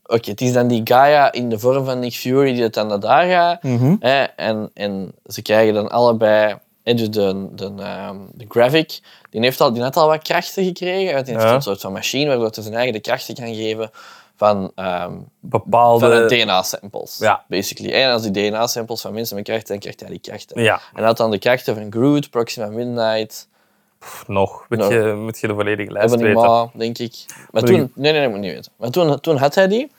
B: Oké, het is dan die Gaia in de vorm van Nick Fury die het dan naar daar gaat.
A: Mhm.
B: hè, en, en ze krijgen dan allebei... hè, dus de, de, ehm, de graphic, die, heeft al, die had al wat krachten gekregen. Want die heeft
A: Ja.
B: een soort van machine waardoor ze zijn eigen de krachten kan geven van... ehm, van
A: Bepaalde...
B: hun DNA-samples,
A: Ja.
B: basically. En als die DNA-samples van mensen met krachten, dan krijgt hij die krachten.
A: ja.
B: En dat dan de krachten van Groot, Proxima Midnight,
A: Pff, nog. Weet
B: Nou.
A: je, moet je de volledige lijst
B: Hebben die
A: weten.
B: ma, denk ik. Maar
A: Wil je-
B: toen... Nee, nee, nee, moet niet weten. Maar toen, toen had hij die.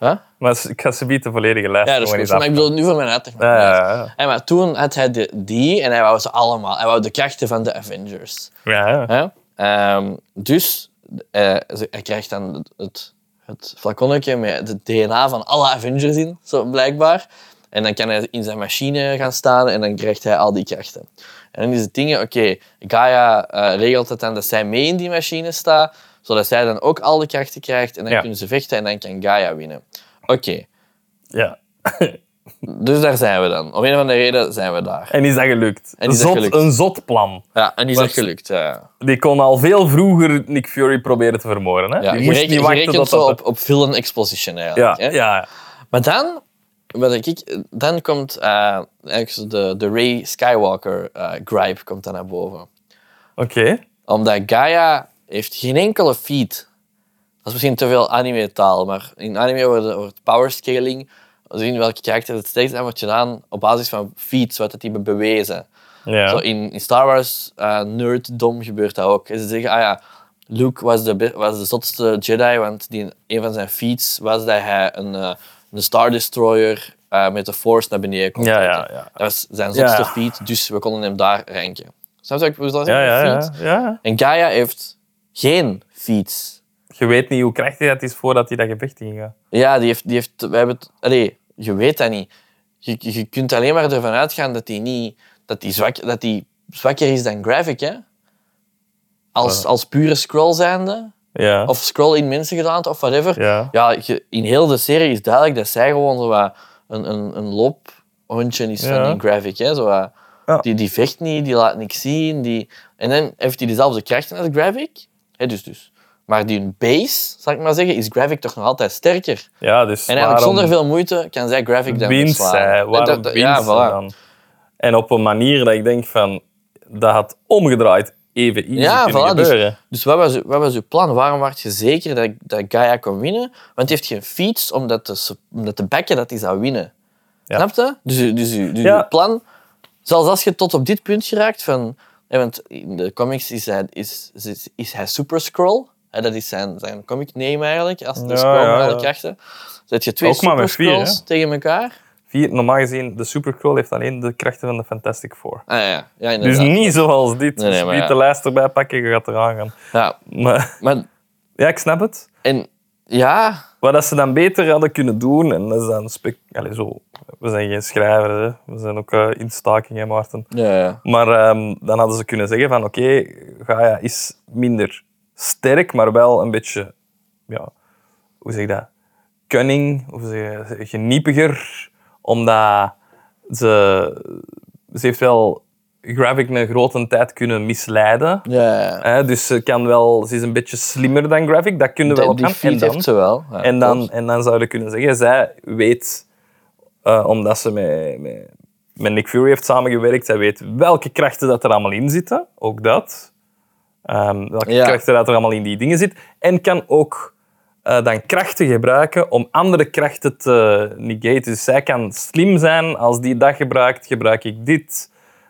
B: Huh?
A: Maar s- ik ga ze de volledige lijst
B: Ja, dat is
A: gewoon
B: goed.
A: eens
B: Maar ik
A: af-
B: bedoel, nu voor mijn uitleg.
A: Ja, ja, ja.
B: Hey, maar toen had hij de, die en hij wou ze allemaal. Hij wou de krachten van de Avengers.
A: Ja, ja.
B: Hè? Ehm, dus eh, ze- hij krijgt dan het, het, het flaconnetje met het DNA van alle Avengers in, zo blijkbaar. En dan kan hij in zijn machine gaan staan en dan krijgt hij al die krachten. En dan is het ding, oké, Gaia eh, regelt het dan dat zij mee in die machine staat, zodat zij dan ook al de krachten krijgt en dan
A: Ja.
B: kunnen ze vechten en dan kan Gaia winnen. Oké,
A: Ja.
B: dus daar zijn we dan. Om een of andere reden zijn we daar.
A: En is dat gelukt?
B: En is dat
A: zot,
B: gelukt?
A: Een zot plan.
B: Ja, en is
A: Maar-
B: dat gelukt. Ja.
A: Die kon al veel vroeger Nick Fury proberen te vermoorden. Hè?
B: Ja,
A: Die
B: je
A: moest
B: reken-
A: niet
B: je
A: wachten
B: rekent
A: tot
B: zo
A: dat...
B: op, op villain exposition
A: Ja,
B: eigenlijk. hè?
A: ja.
B: Maar dan, wat ik- ik, dan komt eh, eigenlijk zo de, de Ray Skywalker eh, gripe komt dan naar boven.
A: Oké.
B: Omdat Gaia heeft geen enkele feat. Dat is misschien te veel anime-taal, maar in anime wordt, wordt power scaling, we zien welke karakter het sterkst is, wordt gedaan op basis van feats, wat dat die hebben bewezen. Zo
A: Ja.
B: in, in Star Wars eh, nerddom gebeurt dat ook. En ze zeggen, ah ja, Luke was de, be- was de zotste Jedi, want die, een van zijn feats was dat hij een, eh, een Star Destroyer eh, met de Force naar beneden kon
A: Ja,
B: trekken.
A: ja, ja.
B: Dat was zijn zotste
A: Ja.
B: feat, dus we konden hem daar ranken. Snap je wat ik bedoel?
A: Ja, ja,
B: Een
A: ja,
B: feat.
A: ja.
B: En Gaia heeft geen feats.
A: Je weet niet hoe krachtig dat is voordat hij dat gevecht ingaat.
B: Ja, die heeft... Die heeft we hebben het, allee, je weet dat niet. Je, je kunt alleen maar ervan uitgaan dat die niet... Dat die, zwak, dat die zwakker is dan Graphic, hè? Als, als pure scroll zijnde.
A: Ja.
B: Of scroll in mensen gedaan, of whatever.
A: Ja.
B: je- in heel de serie is duidelijk dat zij gewoon zo wat een, een, een loophondje is
A: Ja.
B: van die Graphic, hè? Zo wat-
A: Ja.
B: die, die vecht niet, die laat niks zien. Die... En dan heeft hij dezelfde krachten als Graphic. Hè, dus, dus. Maar die base, zal ik maar zeggen, is Graphic toch nog altijd sterker.
A: ja, dus
B: En eigenlijk
A: waarom
B: zonder veel moeite kan zij graphic dan
A: wint
B: verslaan.
A: zij?
B: Dat-
A: Waarom
B: dat- dat-
A: wint
B: ja,
A: zij
B: voilà.
A: dan? En op een manier dat ik denk van... Dat had omgedraaid even easy
B: Ja,
A: kunnen
B: voilà, dus-
A: gebeuren.
B: Dus wat was, wat was uw plan? Waarom was je zeker dat, dat Gaia kon winnen? Want die heeft geen fiets omdat de, s- omdat de bekken dat hij zou winnen.
A: Ja.
B: Snap je? Dus, uw- dus, uw- dus
A: Ja.
B: uw plan, zelfs als je tot op dit punt geraakt van... hè, want in de comics is hij, is, is, is hij Super Scroll. Hè, dat is zijn, zijn comic name eigenlijk, als de
A: Ja,
B: scroll
A: ja,
B: met alle
A: ja.
B: krachten. Zet je twee
A: Ook maar
B: Super
A: met vier, hè?
B: Scrolls tegen elkaar.
A: Vier, normaal gezien, de Supercroll heeft alleen de krachten van de Fantastic Four.
B: Ah, ja, ja,
A: Dus
B: inderdaad.
A: niet zoals dit.
B: Nee, nee,
A: dus
B: maar
A: wie
B: ja.
A: de lijst erbij pakken, je gaat eraan gaan.
B: Ja,
A: Maar
B: maar...
A: ja, ik snap het.
B: En, ja,
A: Wat dat ze dan beter hadden kunnen doen, en dat is dan... Spe- Allee, zo, we zijn geen schrijvers, hè. we zijn ook eh, in staking, hè, Maarten.
B: Ja, ja.
A: Maar ehm, dan hadden ze kunnen zeggen van oké, Gaia is minder sterk, maar wel een beetje, ja, hoe zeg je dat, cunning, hoe zeg je, geniepiger, omdat ze, ze heeft wel Graphic een grote tijd kunnen misleiden.
B: ja, ja.
A: Hè, dus ze, kan wel, ze is een beetje slimmer dan Graphic, dat kunnen we wel
B: Die, die
A: op hem. En
B: feed heeft
A: dan,
B: ze wel. Ja,
A: en dan,
B: klopt.
A: en dan zouden we kunnen zeggen, zij weet, eh, omdat ze met, met, met Nick Fury heeft samengewerkt, zij weet welke krachten dat er allemaal in zitten, ook dat. Ehm, welke
B: Ja.
A: krachten dat er allemaal in die dingen zit. En kan ook eh, dan krachten gebruiken om andere krachten te negaten. Dus zij kan slim zijn, als die dat gebruikt, gebruik ik dit.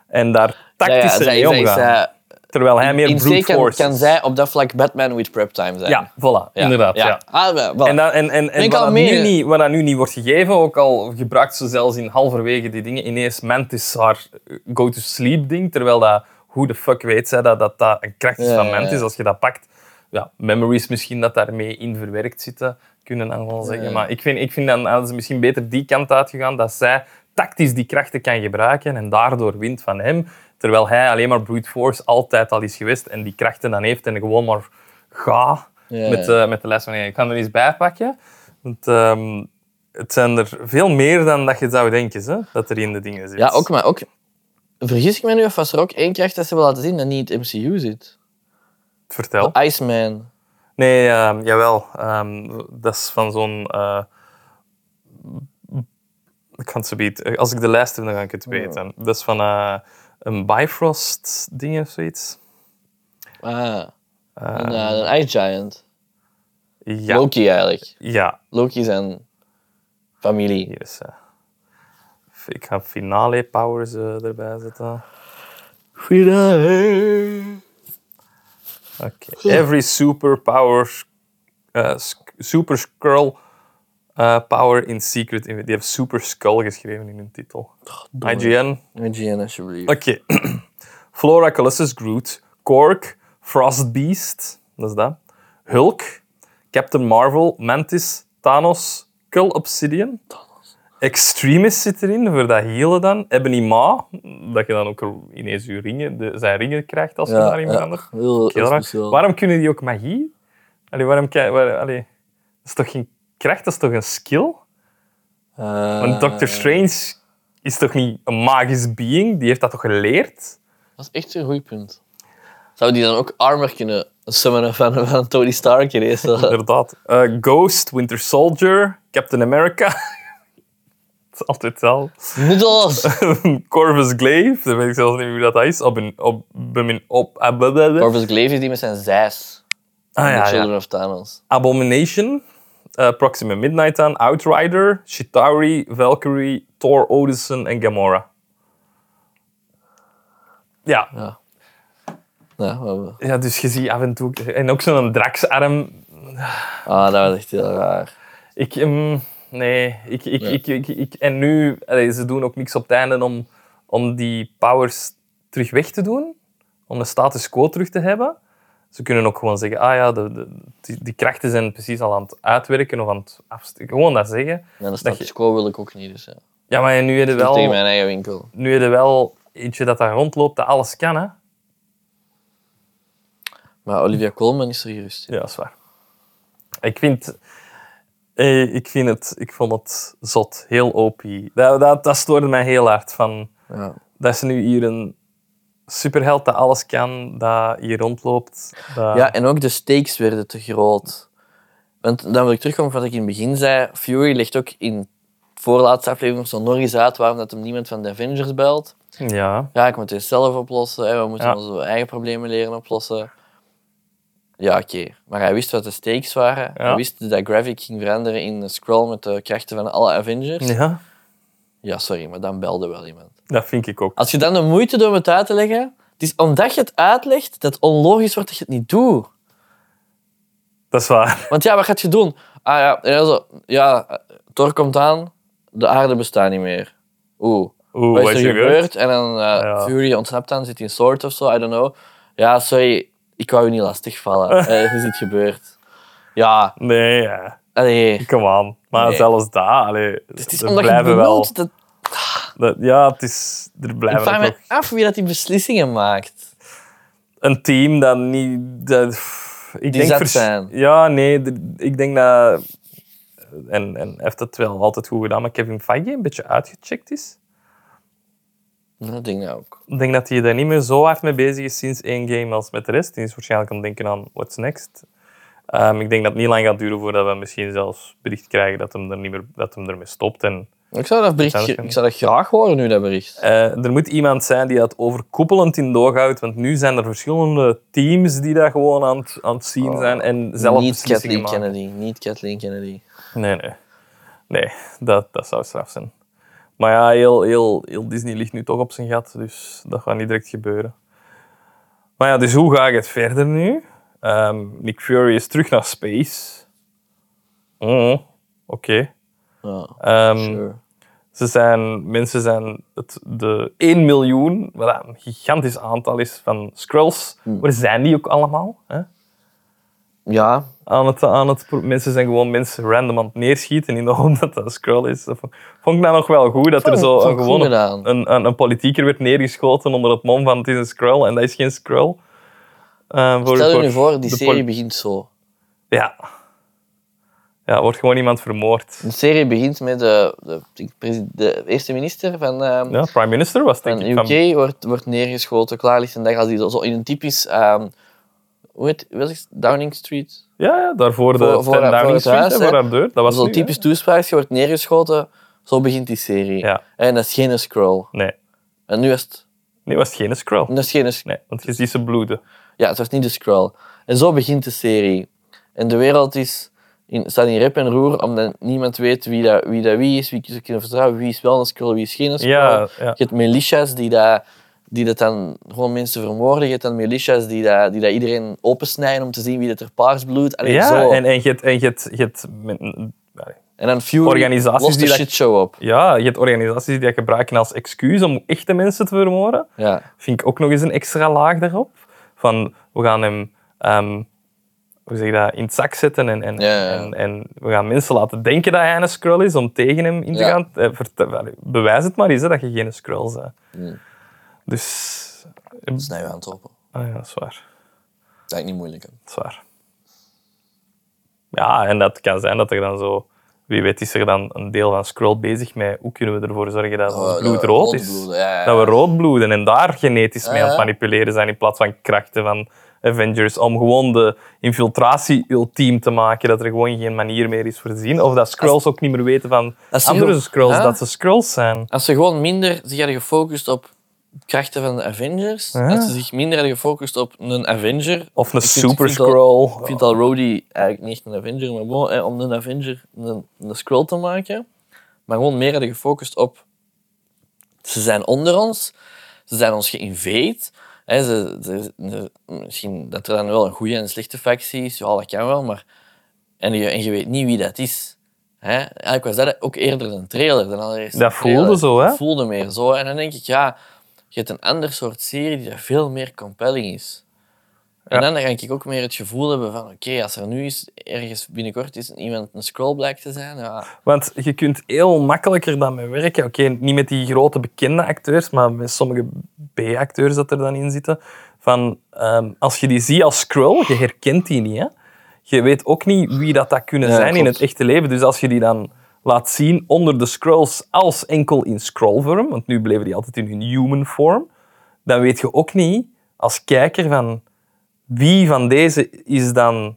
A: En daar
B: Ja, ja,
A: tactisch
B: zij-
A: mee
B: zij-
A: omgaan.
B: zij-
A: Terwijl hij meer
B: in
A: brute
B: C kan,
A: force
B: kan
A: is.
B: zij op dat vlak Batman with prep time zijn.
A: Ja, voilà, inderdaad. Ja.
B: Ah, wel, wel.
A: En, dat, en, en, en
B: Ik
A: wat,
B: al
A: dat
B: meer-
A: nu niet, wat dat nu niet wordt gegeven, ook al gebruikt ze zelfs in halverwege die dingen, ineens Mantis haar go-to-sleep ding, terwijl dat, hoe de fuck weet zij dat dat, dat een kracht is
B: Ja,
A: van
B: ja, ja.
A: Mantis, Dus als je dat pakt. Ja, memories misschien dat daarmee in verwerkt zitten, kunnen dan wel zeggen. Maar ik vind, ik vind dan hadden ze misschien beter die kant uitgegaan, dat zij tactisch die krachten kan gebruiken en daardoor wint van hem, terwijl hij alleen maar brute force altijd al is geweest en die krachten dan heeft en gewoon maar ga
B: Ja,
A: met,
B: ja.
A: eh, met de les van Ik kan er iets bij pakken. Want ehm, het zijn er veel meer dan dat je zou denken, hè, dat er in de dingen zit.
B: ja, ook, maar ook... Vergis ik me nu of was er ook één kracht dat ze wil laten zien dat niet in het MCU zit?
A: Vertel.
B: Iceman.
A: Nee, ehm, jawel. Ehm, dat is van zo'n... eh, ik kan het zo beet- Als ik de lijst heb, dan ga ik het weten. Dat is van eh, een Bifrost-ding of zoiets.
B: Ah, een, eh, een Ice Giant.
A: Ja.
B: Loki eigenlijk.
A: Ja.
B: Loki zijn familie.
A: Yes, eh. Ik ga finale powers eh, erbij zetten.
B: Goedendag.
A: Oké. Every superpower, eh, sk- super scroll eh, power in secret. Inv- Die heeft super skull geschreven in hun titel. IGN.
B: IGN, alsjeblieft.
A: Oké. Flora Colossus Groot. Cork. Frostbeast. Dat is dat. Hulk. Captain Marvel. Mantis. Thanos. Cull Obsidian. Extremis zit erin, voor dat healen dan. Ebony Ma, dat je dan ook ineens je ringen, de, zijn ringen krijgt als je
B: Ja,
A: daar iemand
B: ja. dus
A: anders...
B: Heel
A: Heel raar.
B: speciaal.
A: Waarom kunnen die ook magie? Allee, waarom kan, waar- allee, dat is toch geen kracht, dat is toch een skill?
B: Eh,
A: Want Doctor Strange is toch niet een magisch being? Die heeft dat toch geleerd?
B: Dat is echt een goed punt. Zou die dan ook armor kunnen summonen van, van Tony Stark in deze?
A: Inderdaad. Eh, Ghost, Winter Soldier, Captain America. Het is altijd hetzelfde.
B: Noedels!
A: Corvus Glaive, dat weet ik zelfs niet meer wie dat is. Op een... Op, op, op, ab-
B: Corvus Glaive is die met zijn zes.
A: Ah,
B: de
A: ja, ja.
B: Children of Thanos.
A: Abomination, eh, Proxima Midnight aan, Outrider, Chitauri, Valkyrie, Thor, Odysson en Gamora. Ja,
B: Ja, we-
A: ja, dus je ziet af en toe... En ook zo'n draksarm.
B: ah, dat was echt heel raar.
A: Ik... ehm, nee, ik, ik, ik, ik, ik- En nu... allee, ze doen ook niks op het einde om, om die powers terug weg te doen. Om de status quo terug te hebben. Ze kunnen ook gewoon zeggen, ah ja, de, de- die, die krachten zijn precies al aan het uitwerken of aan het afsteken. Gewoon dat zeggen.
B: En de
A: Dat je-
B: status quo wil ik ook niet, dus ja.
A: Ja, maar nu heb je
B: Wel... Tegen
A: wel,
B: mijn eigen winkel.
A: nu heb je wel eentje dat daar rondloopt dat alles kan, hè?
B: Maar Olivia Colman is er gerust. in.
A: Ja, dat is waar. Ik vind, eh, ik vind het, ik vond het zot, heel OP. Dat, dat, dat stoorde mij heel hard. Van,
B: Ja.
A: dat is nu hier een superheld dat alles kan, dat hier rondloopt. dat-
B: Ja, en ook de stakes werden te groot. Want dan wil ik terugkomen op wat ik in het begin zei. Fury legt ook in de voorlaatste aflevering zo nog eens uit waarom dat hem niemand van de Avengers belt.
A: ja.
B: Ja, ik moet het zelf oplossen. Hè. We moeten
A: Ja.
B: onze eigen problemen leren oplossen. Ja, oké. Maar hij wist wat de stakes waren.
A: Ja.
B: Hij wist dat Gravik ging veranderen in een scroll met de krachten van alle Avengers. Ja,
A: ja,
B: sorry, maar dan belde wel iemand. dat
A: dat vind ik ook.
B: Als je dan de moeite doet om het uit te leggen... Het is omdat je het uitlegt dat het onlogisch wordt dat je het niet doet.
A: Dat is waar.
B: Want ja, wat gaat je doen? Ah ja, en dan zo, ja eh, Thor komt aan, de aarde bestaat niet meer. Oeh,
A: Oeh,
B: wat is er gebeurd? En dan eh,
A: Ja.
B: Fury ontsnapt dan, zit in een soort of zo, I don't know. Ja, sorry, ik wou u niet lastigvallen. Eh, Er is iets gebeurd. Ja,
A: Nee, ja.
B: allee.
A: come on. Maar
B: Nee.
A: zelfs dat, allee,
B: Het is
A: er
B: omdat je het
A: blijven wel.
B: bedoelt. Dat,
A: dat- ja, het is, er
B: ik
A: blijven
B: vraag
A: ook
B: me
A: nog-
B: af wie dat die beslissingen maakt.
A: een team dat niet. Dat, pff, ik
B: zat
A: vers-
B: zijn.
A: Ja, nee, d- ik denk dat. En, en hij heeft dat wel altijd goed gedaan, maar Kevin Feige een beetje uitgecheckt is.
B: Dat denk ik ook.
A: Ik denk dat hij daar niet meer zo hard mee bezig is sinds één game als met de rest. Hij is waarschijnlijk aan het denken aan what's next. Ehm, ik denk dat het niet lang gaat duren voordat we misschien zelfs bericht krijgen dat hem, er niet meer, dat hem ermee stopt. En,
B: Ik zou dat, bericht,
A: Zou dat
B: gr-
A: kunnen?
B: ik zou dat graag horen nu, dat bericht.
A: eh, er moet iemand zijn die dat overkoepelend in doog houdt, want nu zijn er verschillende teams die daar gewoon aan het, aan het zien zijn en zelf
B: Oh, niet
A: beslissingen
B: Kathleen
A: maken.
B: Kennedy, niet Kathleen Kennedy.
A: Nee, nee. Nee, dat, dat zou straf zijn. Maar ja, heel, heel, heel Disney ligt nu toch op zijn gat, dus dat gaat niet direct gebeuren. Maar ja, dus hoe ga ik het verder nu? Ehm, Nick Fury is terug naar space. Oh, oké.
B: Ja,
A: Ehm,
B: sure.
A: ze zijn, mensen zijn het, de 1 miljoen, wat een gigantisch aantal is van Skrulls. Waar zijn die ook allemaal? Hè?
B: ja
A: aan het, aan het pro- mensen zijn gewoon mensen random aan het neerschieten in de hoop dat dat een scroll is. Dat vond, vond ik nou nog wel goed dat er
B: Vond-
A: zo
B: vond
A: een,
B: ik goed
A: gewoon
B: gedaan.
A: een, een, een politieker werd neergeschoten onder het mom van het is een scroll en dat is geen scroll. Eh, voor-
B: Stel je
A: voor
B: nu voor, die
A: de
B: serie
A: poli-
B: begint zo.
A: Ja. Ja, er wordt gewoon iemand vermoord.
B: De serie begint met de, de, de presi- de eerste minister van, ehm
A: Ja, prime minister was denk
B: van
A: ik
B: UK,
A: van...
B: wordt, wordt neergeschoten, klaar ligt een dag als die zo in een typisch... ehm, hoe heet wat is het? Downing Street?
A: Ja, ja, daarvoor de
B: Voor-
A: voor,
B: voor haar- voor
A: Downing
B: het
A: Street,
B: huis,
A: hè,
B: hè.
A: voor haar deur. Dat was
B: Zo'n
A: nu, hè.
B: typisch toespraak, je wordt neergeschoten, zo begint die serie.
A: Ja.
B: En dat is geen scroll.
A: Nee,
B: En nu is het...
A: nee, was het geen scroll.
B: Dat is geen,
A: Nee, want je ziet ze bloeden.
B: Ja, het was niet de scroll. En zo begint de serie. En de wereld is in, staat in rep en roer, omdat niemand weet wie dat wie, dat wie is, wie ze kunnen vertrouwen, wie is wel een scroll, wie is geen scroll.
A: Ja, ja.
B: Je hebt militias die daar die dat dan gewoon mensen vermoorden. Je hebt dan militias die dat, die dat iedereen opensnijden om te zien wie dat er paars bloedt. Allee,
A: ja,
B: zo.
A: en, en je hebt- en je hebt- je hebt men- allee.
B: En dan Fury
A: Organisaties
B: lost de
A: die dat-
B: shitshow op.
A: ja, je hebt organisaties die dat gebruiken als excuus om echte mensen te vermoorden.
B: Ja.
A: vind ik ook nog eens een extra laag daarop. Van, we gaan hem ehm, hoe zeg je dat, in het zak zetten en, en,
B: Ja, ja, ja.
A: en, en we gaan mensen laten denken dat hij een Skrull is om tegen hem in te
B: Ja.
A: gaan. Eh, verte- wel, bewijs het maar eens hè, dat je geen Skrull bent.
B: Mm.
A: Dus, eh,
B: Snij je hand open.
A: ah ja, dat is waar.
B: Dat is niet moeilijk. hè.
A: Dat is waar. Ja, en dat kan zijn dat er dan zo... Wie weet is er dan een deel van Skrull bezig met hoe kunnen we ervoor zorgen dat
B: Oh,
A: ons
B: dat
A: bloed
B: we
A: rood
B: rood
A: is.
B: bloeden, ja, ja, ja.
A: Dat we rood bloeden en daar genetisch mee aan het
B: ja.
A: manipuleren zijn in plaats van krachten van Avengers. Om gewoon de infiltratie ultiem te maken, dat er gewoon geen manier meer is voorzien. Of dat Skrulls ook niet meer weten van
B: Als ze
A: andere
B: gewoon-
A: Skrulls,
B: Ja?
A: dat ze Skrulls zijn.
B: Als ze gewoon minder zich hadden gefocust op krachten van de Avengers,
A: Ja.
B: als ze zich minder hadden gefocust op een Avenger...
A: Of een
B: Ik vind- ik
A: Super
B: vind al-
A: Skrull.
B: Ik vind al Rhodey eigenlijk niet echt een Avenger, maar bon, hè, om een Avenger een, een Skrull te maken. Maar gewoon meer hadden gefocust op... Ze zijn onder ons, ze zijn ons geïnveed. Hè, ze, ze- ze- misschien dat er dan wel een goede en een slechte factie is, ja, dat kan wel, maar... En je, en je weet niet wie dat is. Hè? Eigenlijk was dat ook eerder een trailer dan allereerst een
A: Dat voelde
B: trailer.
A: zo, hè?
B: Dat voelde meer zo. En dan denk ik, ja, je hebt een ander soort serie die dat veel meer compelling is. En dan denk ik ook meer het gevoel hebben van, oké, als er nu is, ergens binnenkort is iemand een scroll blijkt te zijn, ja,
A: Want je kunt heel makkelijker dan mee werken. Oké, niet met die grote bekende acteurs, maar met sommige B-acteurs dat er dan in zitten. Van, ehm, als je die ziet als Skrull, je herkent die niet. Hè? Je weet ook niet wie dat, dat kunnen
B: Ja,
A: zijn in
B: klopt.
A: het echte leven. Dus als je die dan laat zien onder de Skrulls als enkel in Skrull-vorm, want nu bleven die altijd in hun human vorm, dan weet je ook niet als kijker van wie van deze is dan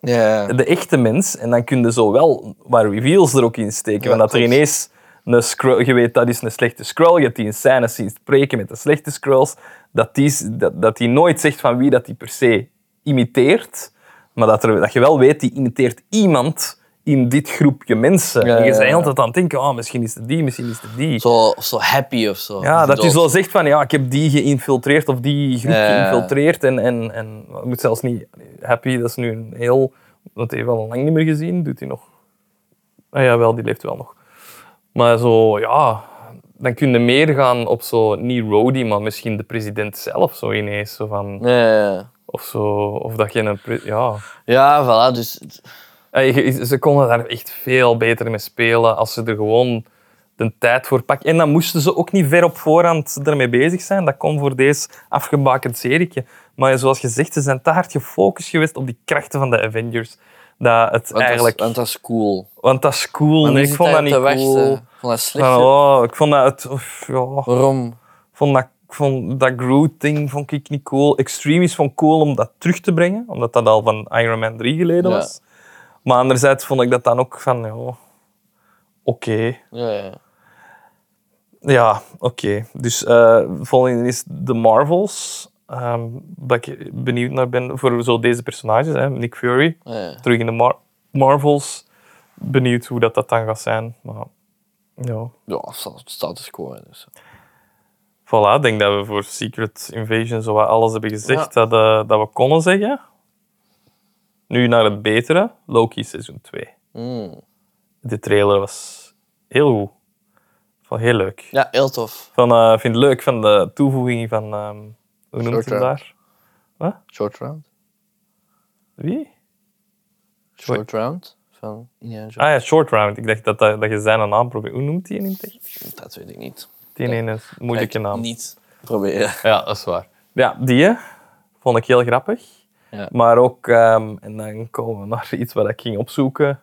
B: ja.
A: de echte mens. En dan kun je zo wel waar reveals er ook in steken.
B: Ja,
A: want dat er
B: klopt.
A: ineens een scroll, je weet dat is een slechte scroll, je hebt die in scènes zien spreken met de slechte scrolls, dat die, s- dat, dat die nooit zegt van wie dat die per se imiteert, maar dat, er, dat je wel weet, die imiteert iemand in dit groepje mensen.
B: Ja,
A: en je
B: ja,
A: bent
B: ja.
A: altijd aan het denken, oh, misschien is het die, misschien is het die.
B: Zo, zo happy of zo.
A: Ja, dat
B: Dood.
A: hij zo zegt van ja, ik heb die geïnfiltreerd of die groep
B: Ja.
A: geïnfiltreerd. En, en, en het moet zelfs niet. Happy, dat is nu een heel. Dat heeft hij al lang niet meer gezien. Doet hij nog. Ah ja, wel, die leeft wel nog. Maar zo, ja. Dan kun je meer gaan op zo, niet Rody, maar misschien de president zelf zo ineens. Zo van,
B: Ja, ja, ja.
A: of zo, of dat je een. pre- Ja.
B: ja, voilà, dus...
A: Hey, Eh, je- Ze konden daar echt veel beter mee spelen als ze er gewoon de tijd voor pakken. En dan moesten ze ook niet ver op voorhand ermee bezig zijn. Dat kon voor deze afgebakend serietje. Maar zoals gezegd, ze zijn te hard gefocust geweest op die krachten van de Avengers. Dat het
B: Want
A: eigenlijk...
B: Dat, is- want dat is cool.
A: want dat is cool.
B: Want
A: nee,
B: die
A: ik vond dat
B: zitten
A: niet
B: te
A: cool.
B: wachten. Ik vond eh, dat slecht.
A: Van, oh, ik vond dat... Het, oef, ja.
B: Waarom?
A: Ik vond dat, ik vond dat Groot-ding vond ik niet cool. Extremis vond ik cool om dat terug te brengen, omdat dat al van Iron Man 3 geleden
B: Ja.
A: was. Maar anderzijds vond ik dat dan ook van, ja, oké.
B: Ja, ja.
A: Ja, oké. Dus eh volgende is The Marvels. Ehm dat ik benieuwd naar ben voor zo deze personages, hè, Nick Fury.
B: Ja, ja.
A: Terug in de Mar- Marvels. Benieuwd hoe dat, dat dan gaat zijn. Maar, ja.
B: Ja, het staat- het staat te scoren. Dus.
A: Voilà, ik denk dat we voor Secret Invasion zo wat alles hebben gezegd dat, eh, dat we konden zeggen. Nu naar het betere, Loki seizoen 2.
B: Mm.
A: De trailer was heel goed. Ik vond het heel leuk.
B: Ja, heel tof.
A: Van, eh, Ik vind het leuk van de toevoeging van... ehm, hoe noemt hij
B: Shorter.
A: hem daar?
B: Short round.
A: Wie?
B: Short round van Indiana Jones.
A: Ah ja, Short Round. Ik dacht dat, dat, dat je zijn naam probeert. Hoe noemt hij in het echt?
B: Dat weet ik niet.
A: Die ene is een Ah. moeilijke
B: Ik
A: naam.
B: Niet proberen.
A: Ja, dat is waar. Ja, die hè, vond ik heel grappig.
B: Ja.
A: Maar ook, ehm, en dan komen we naar iets wat ik ging opzoeken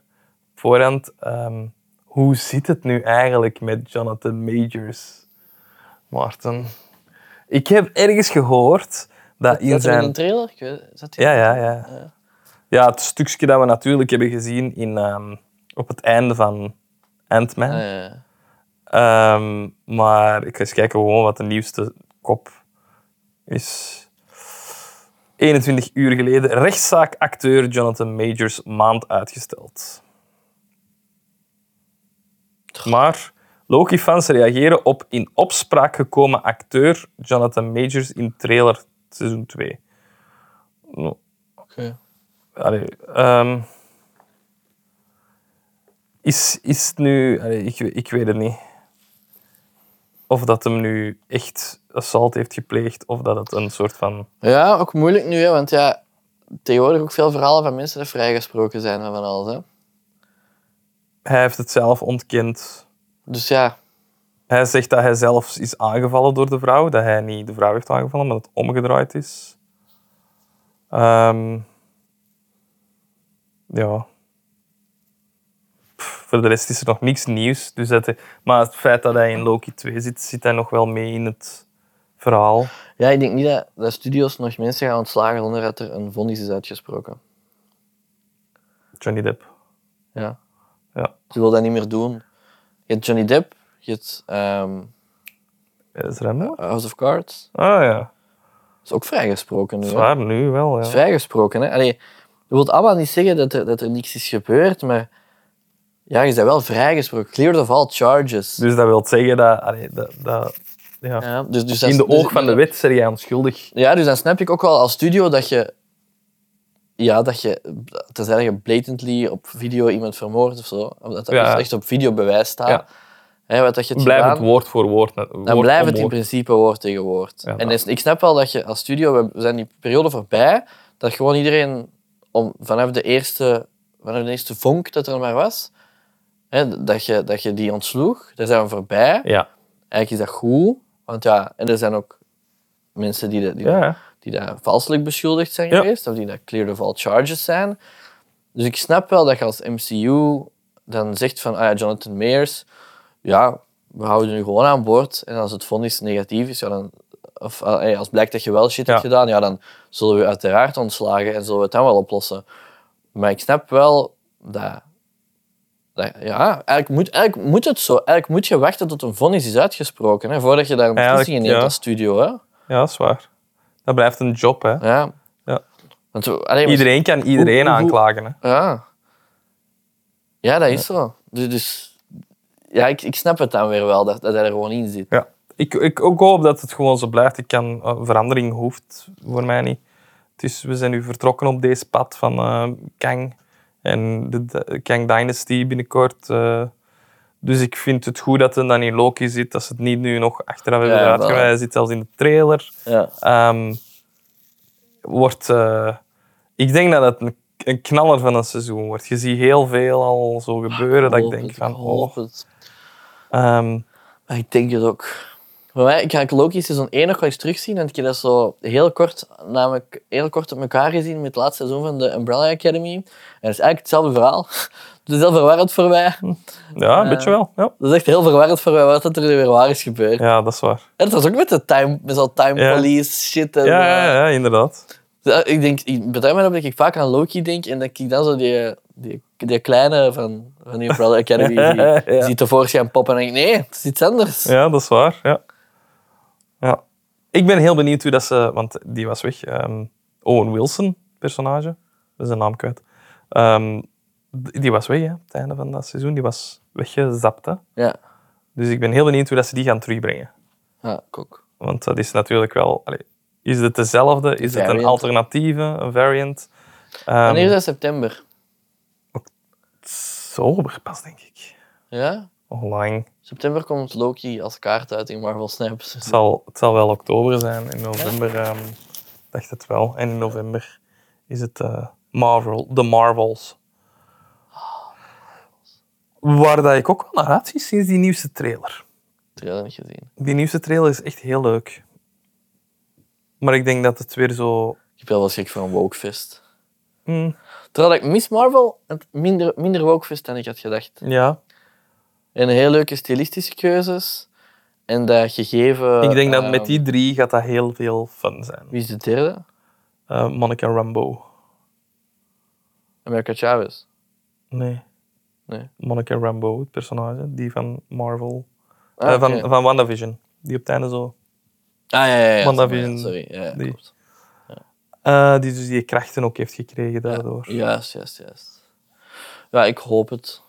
A: voorhand. Ehm, hoe zit het nu eigenlijk met Jonathan Majors, Maarten? Ik heb ergens gehoord dat in
B: Zat hij in een
A: zijn...
B: trailer? Ik weet- Zat hij
A: Ja, ja, ja. Ja, het stukje dat we natuurlijk hebben gezien in, ehm, op het einde van Ant-Man.
B: Ah, ja, ja.
A: Ehm, maar ik ga eens kijken gewoon wat de nieuwste kop is. 21 uur geleden, rechtszaak acteur Jonathan Majors maand uitgesteld. Maar Loki-fans reageren op in opspraak gekomen acteur Jonathan Majors in trailer seizoen 2. No.
B: Oké.
A: Allee, ehm, is, is het nu... allee, ik, we- ik weet het niet. Of dat hem nu echt assault heeft gepleegd, of dat het een soort van...
B: Ja, ook moeilijk nu, hè, want ja, tegenwoordig ook veel verhalen van mensen die vrijgesproken zijn en van alles. Hè.
A: Hij heeft het zelf ontkend.
B: Dus ja,
A: Hij zegt dat hij zelfs is aangevallen door de vrouw. Dat hij niet de vrouw heeft aangevallen, maar dat het omgedraaid is. Ehm, ja. Pff, voor de rest is er nog niks nieuws. Dus dat, hij- maar het feit dat hij in Loki 2 zit, zit hij nog wel mee in het verhaal.
B: ja ik denk niet dat, dat studios nog mensen gaan ontslagen zonder dat er een vonnis is uitgesproken.
A: Johnny Depp.
B: Ja.
A: Ja.
B: Je wil dat niet meer doen. Je hebt Johnny Depp, je hebt ehm,
A: Is er hem wel?
B: House of Cards.
A: Ah ja,
B: Dat is ook vrijgesproken nu. hè.
A: zwaar nu wel.
B: Dat is
A: Ja.
B: vrijgesproken. Hè? Allee, dat wil allemaal niet zeggen dat er, dat er niks is gebeurd, maar ja, je bent wel vrijgesproken. Cleared of all charges.
A: Dus dat wil zeggen dat, allee, dat, dat ja.
B: ja, dus, dus dat
A: in
B: is-
A: de
B: dus-
A: oog van de wet zeg jij onschuldig.
B: Ja, dus dan snap ik ook wel als studio dat je... Ja, dat je... Tenzij je blatantly op video iemand vermoordt of zo. Of dat dat
A: Ja.
B: echt op videobewijs staat.
A: Ja.
B: Hè, wat dat je hebt
A: Blijf
B: gedaan.
A: het woord voor woord. net- woord
B: Dan blijft
A: om
B: het in
A: woord.
B: principe woord tegen woord.
A: Ja,
B: en
A: nou.
B: dus ik snap wel dat je als studio, we zijn die periode voorbij, dat gewoon iedereen om, vanaf, de eerste, vanaf de eerste vonk dat er maar was, hè, dat, je, dat je die ontsloeg, daar zijn we voorbij.
A: Ja.
B: Eigenlijk is dat goed, want ja, en er zijn ook mensen die, dat- die,
A: Ja,
B: die daar valselijk beschuldigd zijn
A: Ja.
B: geweest, of die daar cleared of all charges zijn. Dus ik snap wel dat je als MCU dan zegt van, ah ja, Jonathan Mayers, ja, we houden nu gewoon aan boord. En als het vonnis negatief is, ja, dan, of ah, hey, als blijkt dat je wel shit
A: Ja.
B: hebt gedaan, ja, dan zullen we je uiteraard ontslagen en zullen we het dan wel oplossen. Maar ik snap wel dat... dat- Ja, eigenlijk moet, eigenlijk moet het zo. Eigenlijk moet je wachten tot een vonnis is uitgesproken, hè, voordat je daar een beslissing in
A: Eigenlijk,
B: neemt
A: ja.
B: als studio. Hè.
A: ja, dat is waar. Dat blijft een job, hè.
B: Ja.
A: Ja.
B: Want, we- allee, maar-
A: Iedereen kan iedereen
B: Hoe- hoe-
A: aanklagen, hè.
B: Ja. Ja, dat is zo. Dus, dus ja, ik, ik snap het dan weer wel, dat, dat hij er gewoon in zit.
A: Ja. Ik, ik ook hoop dat het gewoon zo blijft. Ik kan, eh, verandering hoeft voor mij niet. Dus we zijn nu vertrokken op deze pad van eh, Kang en de D- Kang Dynasty binnenkort. eh. dus ik vind het goed dat het dan in Loki zit, dat ze het niet nu nog achteraf hebben
B: Ja,
A: ja,
B: voilà.
A: Hij zit zelfs in de trailer.
B: Ja.
A: Ehm, wordt, eh, ik denk dat het een, een knaller van een seizoen wordt. Je ziet heel veel al zo gebeuren dat ik
B: hoop
A: denk
B: het,
A: van...
B: hoop
A: Oh,
B: het.
A: ehm,
B: Maar ik denk het ook. Bij mij, ik ga ik Loki seizoen 1 nog wel eens terugzien. En ik heb dat zo heel kort, namelijk heel kort op elkaar gezien met het laatste seizoen van de Umbrella Academy. En dat is eigenlijk hetzelfde verhaal. Het is heel verwarrend voor mij.
A: ja, een
B: Eh.
A: beetje wel. Ja.
B: Dat is echt heel verwarrend voor mij wat dat er weer waar is gebeurd.
A: ja, dat is waar.
B: En het was ook met de time, met zo'n time
A: Ja.
B: police shit. En,
A: Ja,
B: eh,
A: ja, ja, inderdaad.
B: Ja, ik denk, ik betrek me erop dat ik vaak aan Loki denk en dat ik dan zo die, die, die kleine van, van die Umbrella Academy zie,
A: Ja.
B: zie tevoorschijn poppen en denk ik, nee, het is iets anders. Ja,
A: Ja, dat is waar. Ja. Ja. Ik ben heel benieuwd hoe dat ze... Want die was weg. ehm, Owen Wilson, personage. Dat is zijn naam kwijt. Ehm, d- die was weg, hè, het einde van dat seizoen. Die was weggezapt, hè.
B: ja.
A: Dus ik ben heel benieuwd hoe dat ze die gaan terugbrengen.
B: ik ook.
A: Want dat is natuurlijk wel... allee, is het dezelfde? Is het een
B: Variant.
A: alternatieve? Een variant? Ehm,
B: Wanneer is dat september?
A: Sober pas, denk ik.
B: Ja?
A: Online.
B: September komt Loki als kaart uit in Marvel Snaps.
A: Het zal, het zal wel oktober zijn. In november ehm, dacht het wel. En in november is het eh, Marvel, The Marvels. Waar dat ik ook wel naar uitzie sinds die nieuwste trailer.
B: Trailer niet gezien.
A: Die nieuwste trailer is echt heel leuk. Maar ik denk dat het weer zo...
B: Ik ben wel schrik voor een wokefest.
A: hm,
B: Terwijl ik Miss Marvel het minder, minder wokefest dan ik had gedacht.
A: ja,
B: En heel leuke stilistische keuzes. En dat gegeven...
A: ik denk dat met
B: ehm,
A: die drie gaat dat heel veel fun zijn.
B: Wie is de derde?
A: Eh, Monica Rambo.
B: America Chavez.
A: Nee.
B: Nee.
A: Monica Rambo, het personage, die van Marvel.
B: Ah,
A: Eh, van,
B: oké.
A: van WandaVision. Die op het einde zo.
B: Ah, ja, ja. ja.
A: WandaVision.
B: Sorry, ja, ja,
A: Die-
B: klopt.
A: eh, die dus die krachten ook heeft gekregen daardoor.
B: Juist, juist, juist. Ja, ik hoop het.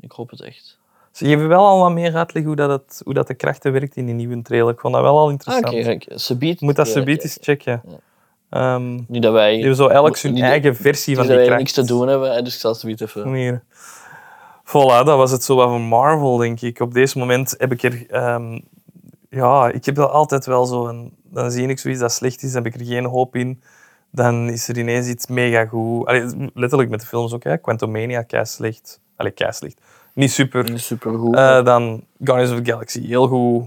B: Ik hoop het echt.
A: Ze geven Dus wel al wat meer uitleg hoe, dat het, hoe dat de krachten werkt in die nieuwe trailer. Ik vond dat wel al
B: Ah,
A: interessant.
B: oké. oké. Ze biedt-
A: Je moet dat
B: ja,
A: zo
B: oké,
A: eens checken. Ehm,
B: oké. Nu dat wij,
A: die hebben zo elk zijn
B: Niet dat-
A: eigen versie
B: nu
A: van die
B: dat wij
A: kracht.
B: niks te doen hebben, hè, dus ik zal ze biedt even...
A: Hier. Voilà, dat was het zo wat van Marvel, denk ik. Op deze moment heb ik er... ehm, ja, ik heb dat altijd wel zo. een- dan zie ik zoiets dat slecht is, dan heb ik er geen hoop in. Dan is er ineens iets mega goed. Allee, letterlijk met de films ook, hè. Quantumania, kei slecht. Allee, kei slecht. Niet super.
B: Supergoed.
A: Eh, dan Guardians of the Galaxy, heel goed.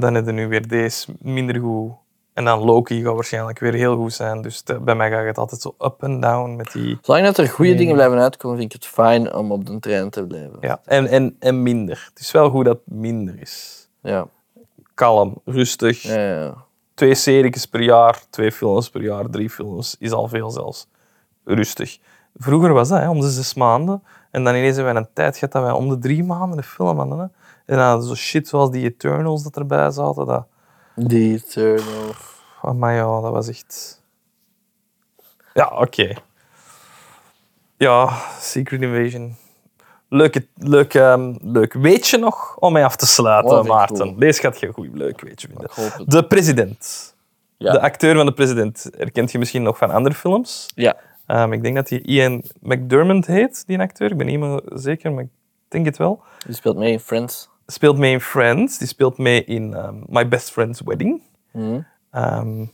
A: Dan heb je nu weer deze, minder goed. En dan Loki gaat waarschijnlijk weer heel goed zijn. Dus de- bij mij gaat het altijd zo up en down met die...
B: Zolang dat er goede
A: Nee.
B: dingen blijven uitkomen, vind ik het fijn om op de trein te blijven.
A: Ja, en, en, en minder. Het is wel goed dat het minder is.
B: Ja.
A: Kalm, rustig.
B: Ja, ja, ja.
A: Twee series per jaar, twee films per jaar, drie films. Is al veel zelfs. Rustig. Vroeger was dat, hè, om de zes maanden. En dan ineens hebben wij een tijd gehad dat wij om de drie maanden een film hadden. Hè. En dan hadden we zo shit zoals die Eternals dat erbij zaten. Dat...
B: Die Eternal.
A: Maar ja, dat was echt. Ja, oké. Ja, Secret Invasion. Leuk, leuk, ehm, leuk weetje nog om mee af te sluiten,
B: Wat vind ik
A: Maarten.
B: goed.
A: Deze gaat je een goed leuk weetje vinden.
B: Ik hoop het.
A: De president.
B: Ja.
A: De acteur van de president. Herkent je misschien nog van andere films?
B: Ja.
A: Ehm, ik denk dat hij Ian McDermott heet, die acteur. Ik ben niet meer zeker, maar ik denk het wel.
B: Die speelt mee in Friends.
A: Speelt mee in Friends. Die speelt mee in ehm, My Best Friend's Wedding.
B: Mhm.
A: Ehm,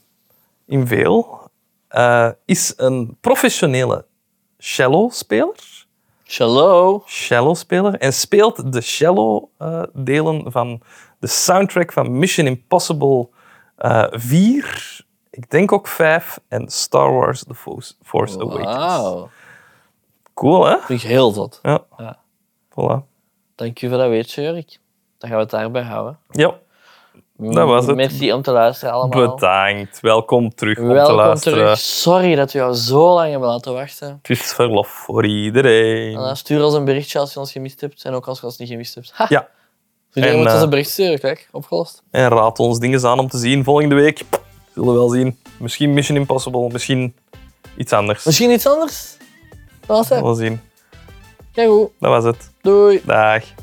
A: in Veel, eh, is een professionele cello-speler.
B: Shallow.
A: Cello-speler. En speelt de cello-delen van de soundtrack van Mission Impossible eh 4, ik denk ook 5, en Star Wars The Force, Force Awakens.
B: Wauw.
A: Cool, hè?
B: Vind ik heel zot.
A: Ja.
B: Ja.
A: Voilà.
B: Dank u voor dat weetje, Jurk. Dan gaan we het daarbij houden.
A: Ja, Dat was het.
B: Merci om te luisteren allemaal.
A: bedankt. Welkom terug om te
B: Welkom
A: luisteren.
B: terug. Sorry dat we jou zo lang hebben laten wachten.
A: Het is verlof voor iedereen.
B: En dan stuur ons een berichtje als je ons gemist hebt. En ook als je ons niet gemist hebt. Ha!
A: Ja.
B: Dus je
A: En,
B: moet ons
A: eh,
B: een bericht sturen, kijk. Opgelost.
A: En raad ons dingen aan om te zien volgende week. Zullen we wel zien. Misschien Mission Impossible, misschien iets anders.
B: Misschien iets anders? Dat was
A: We
B: het.
A: Zullen zien.
B: Kijk hoe.
A: Dat was het.
B: Doei.
A: Dag.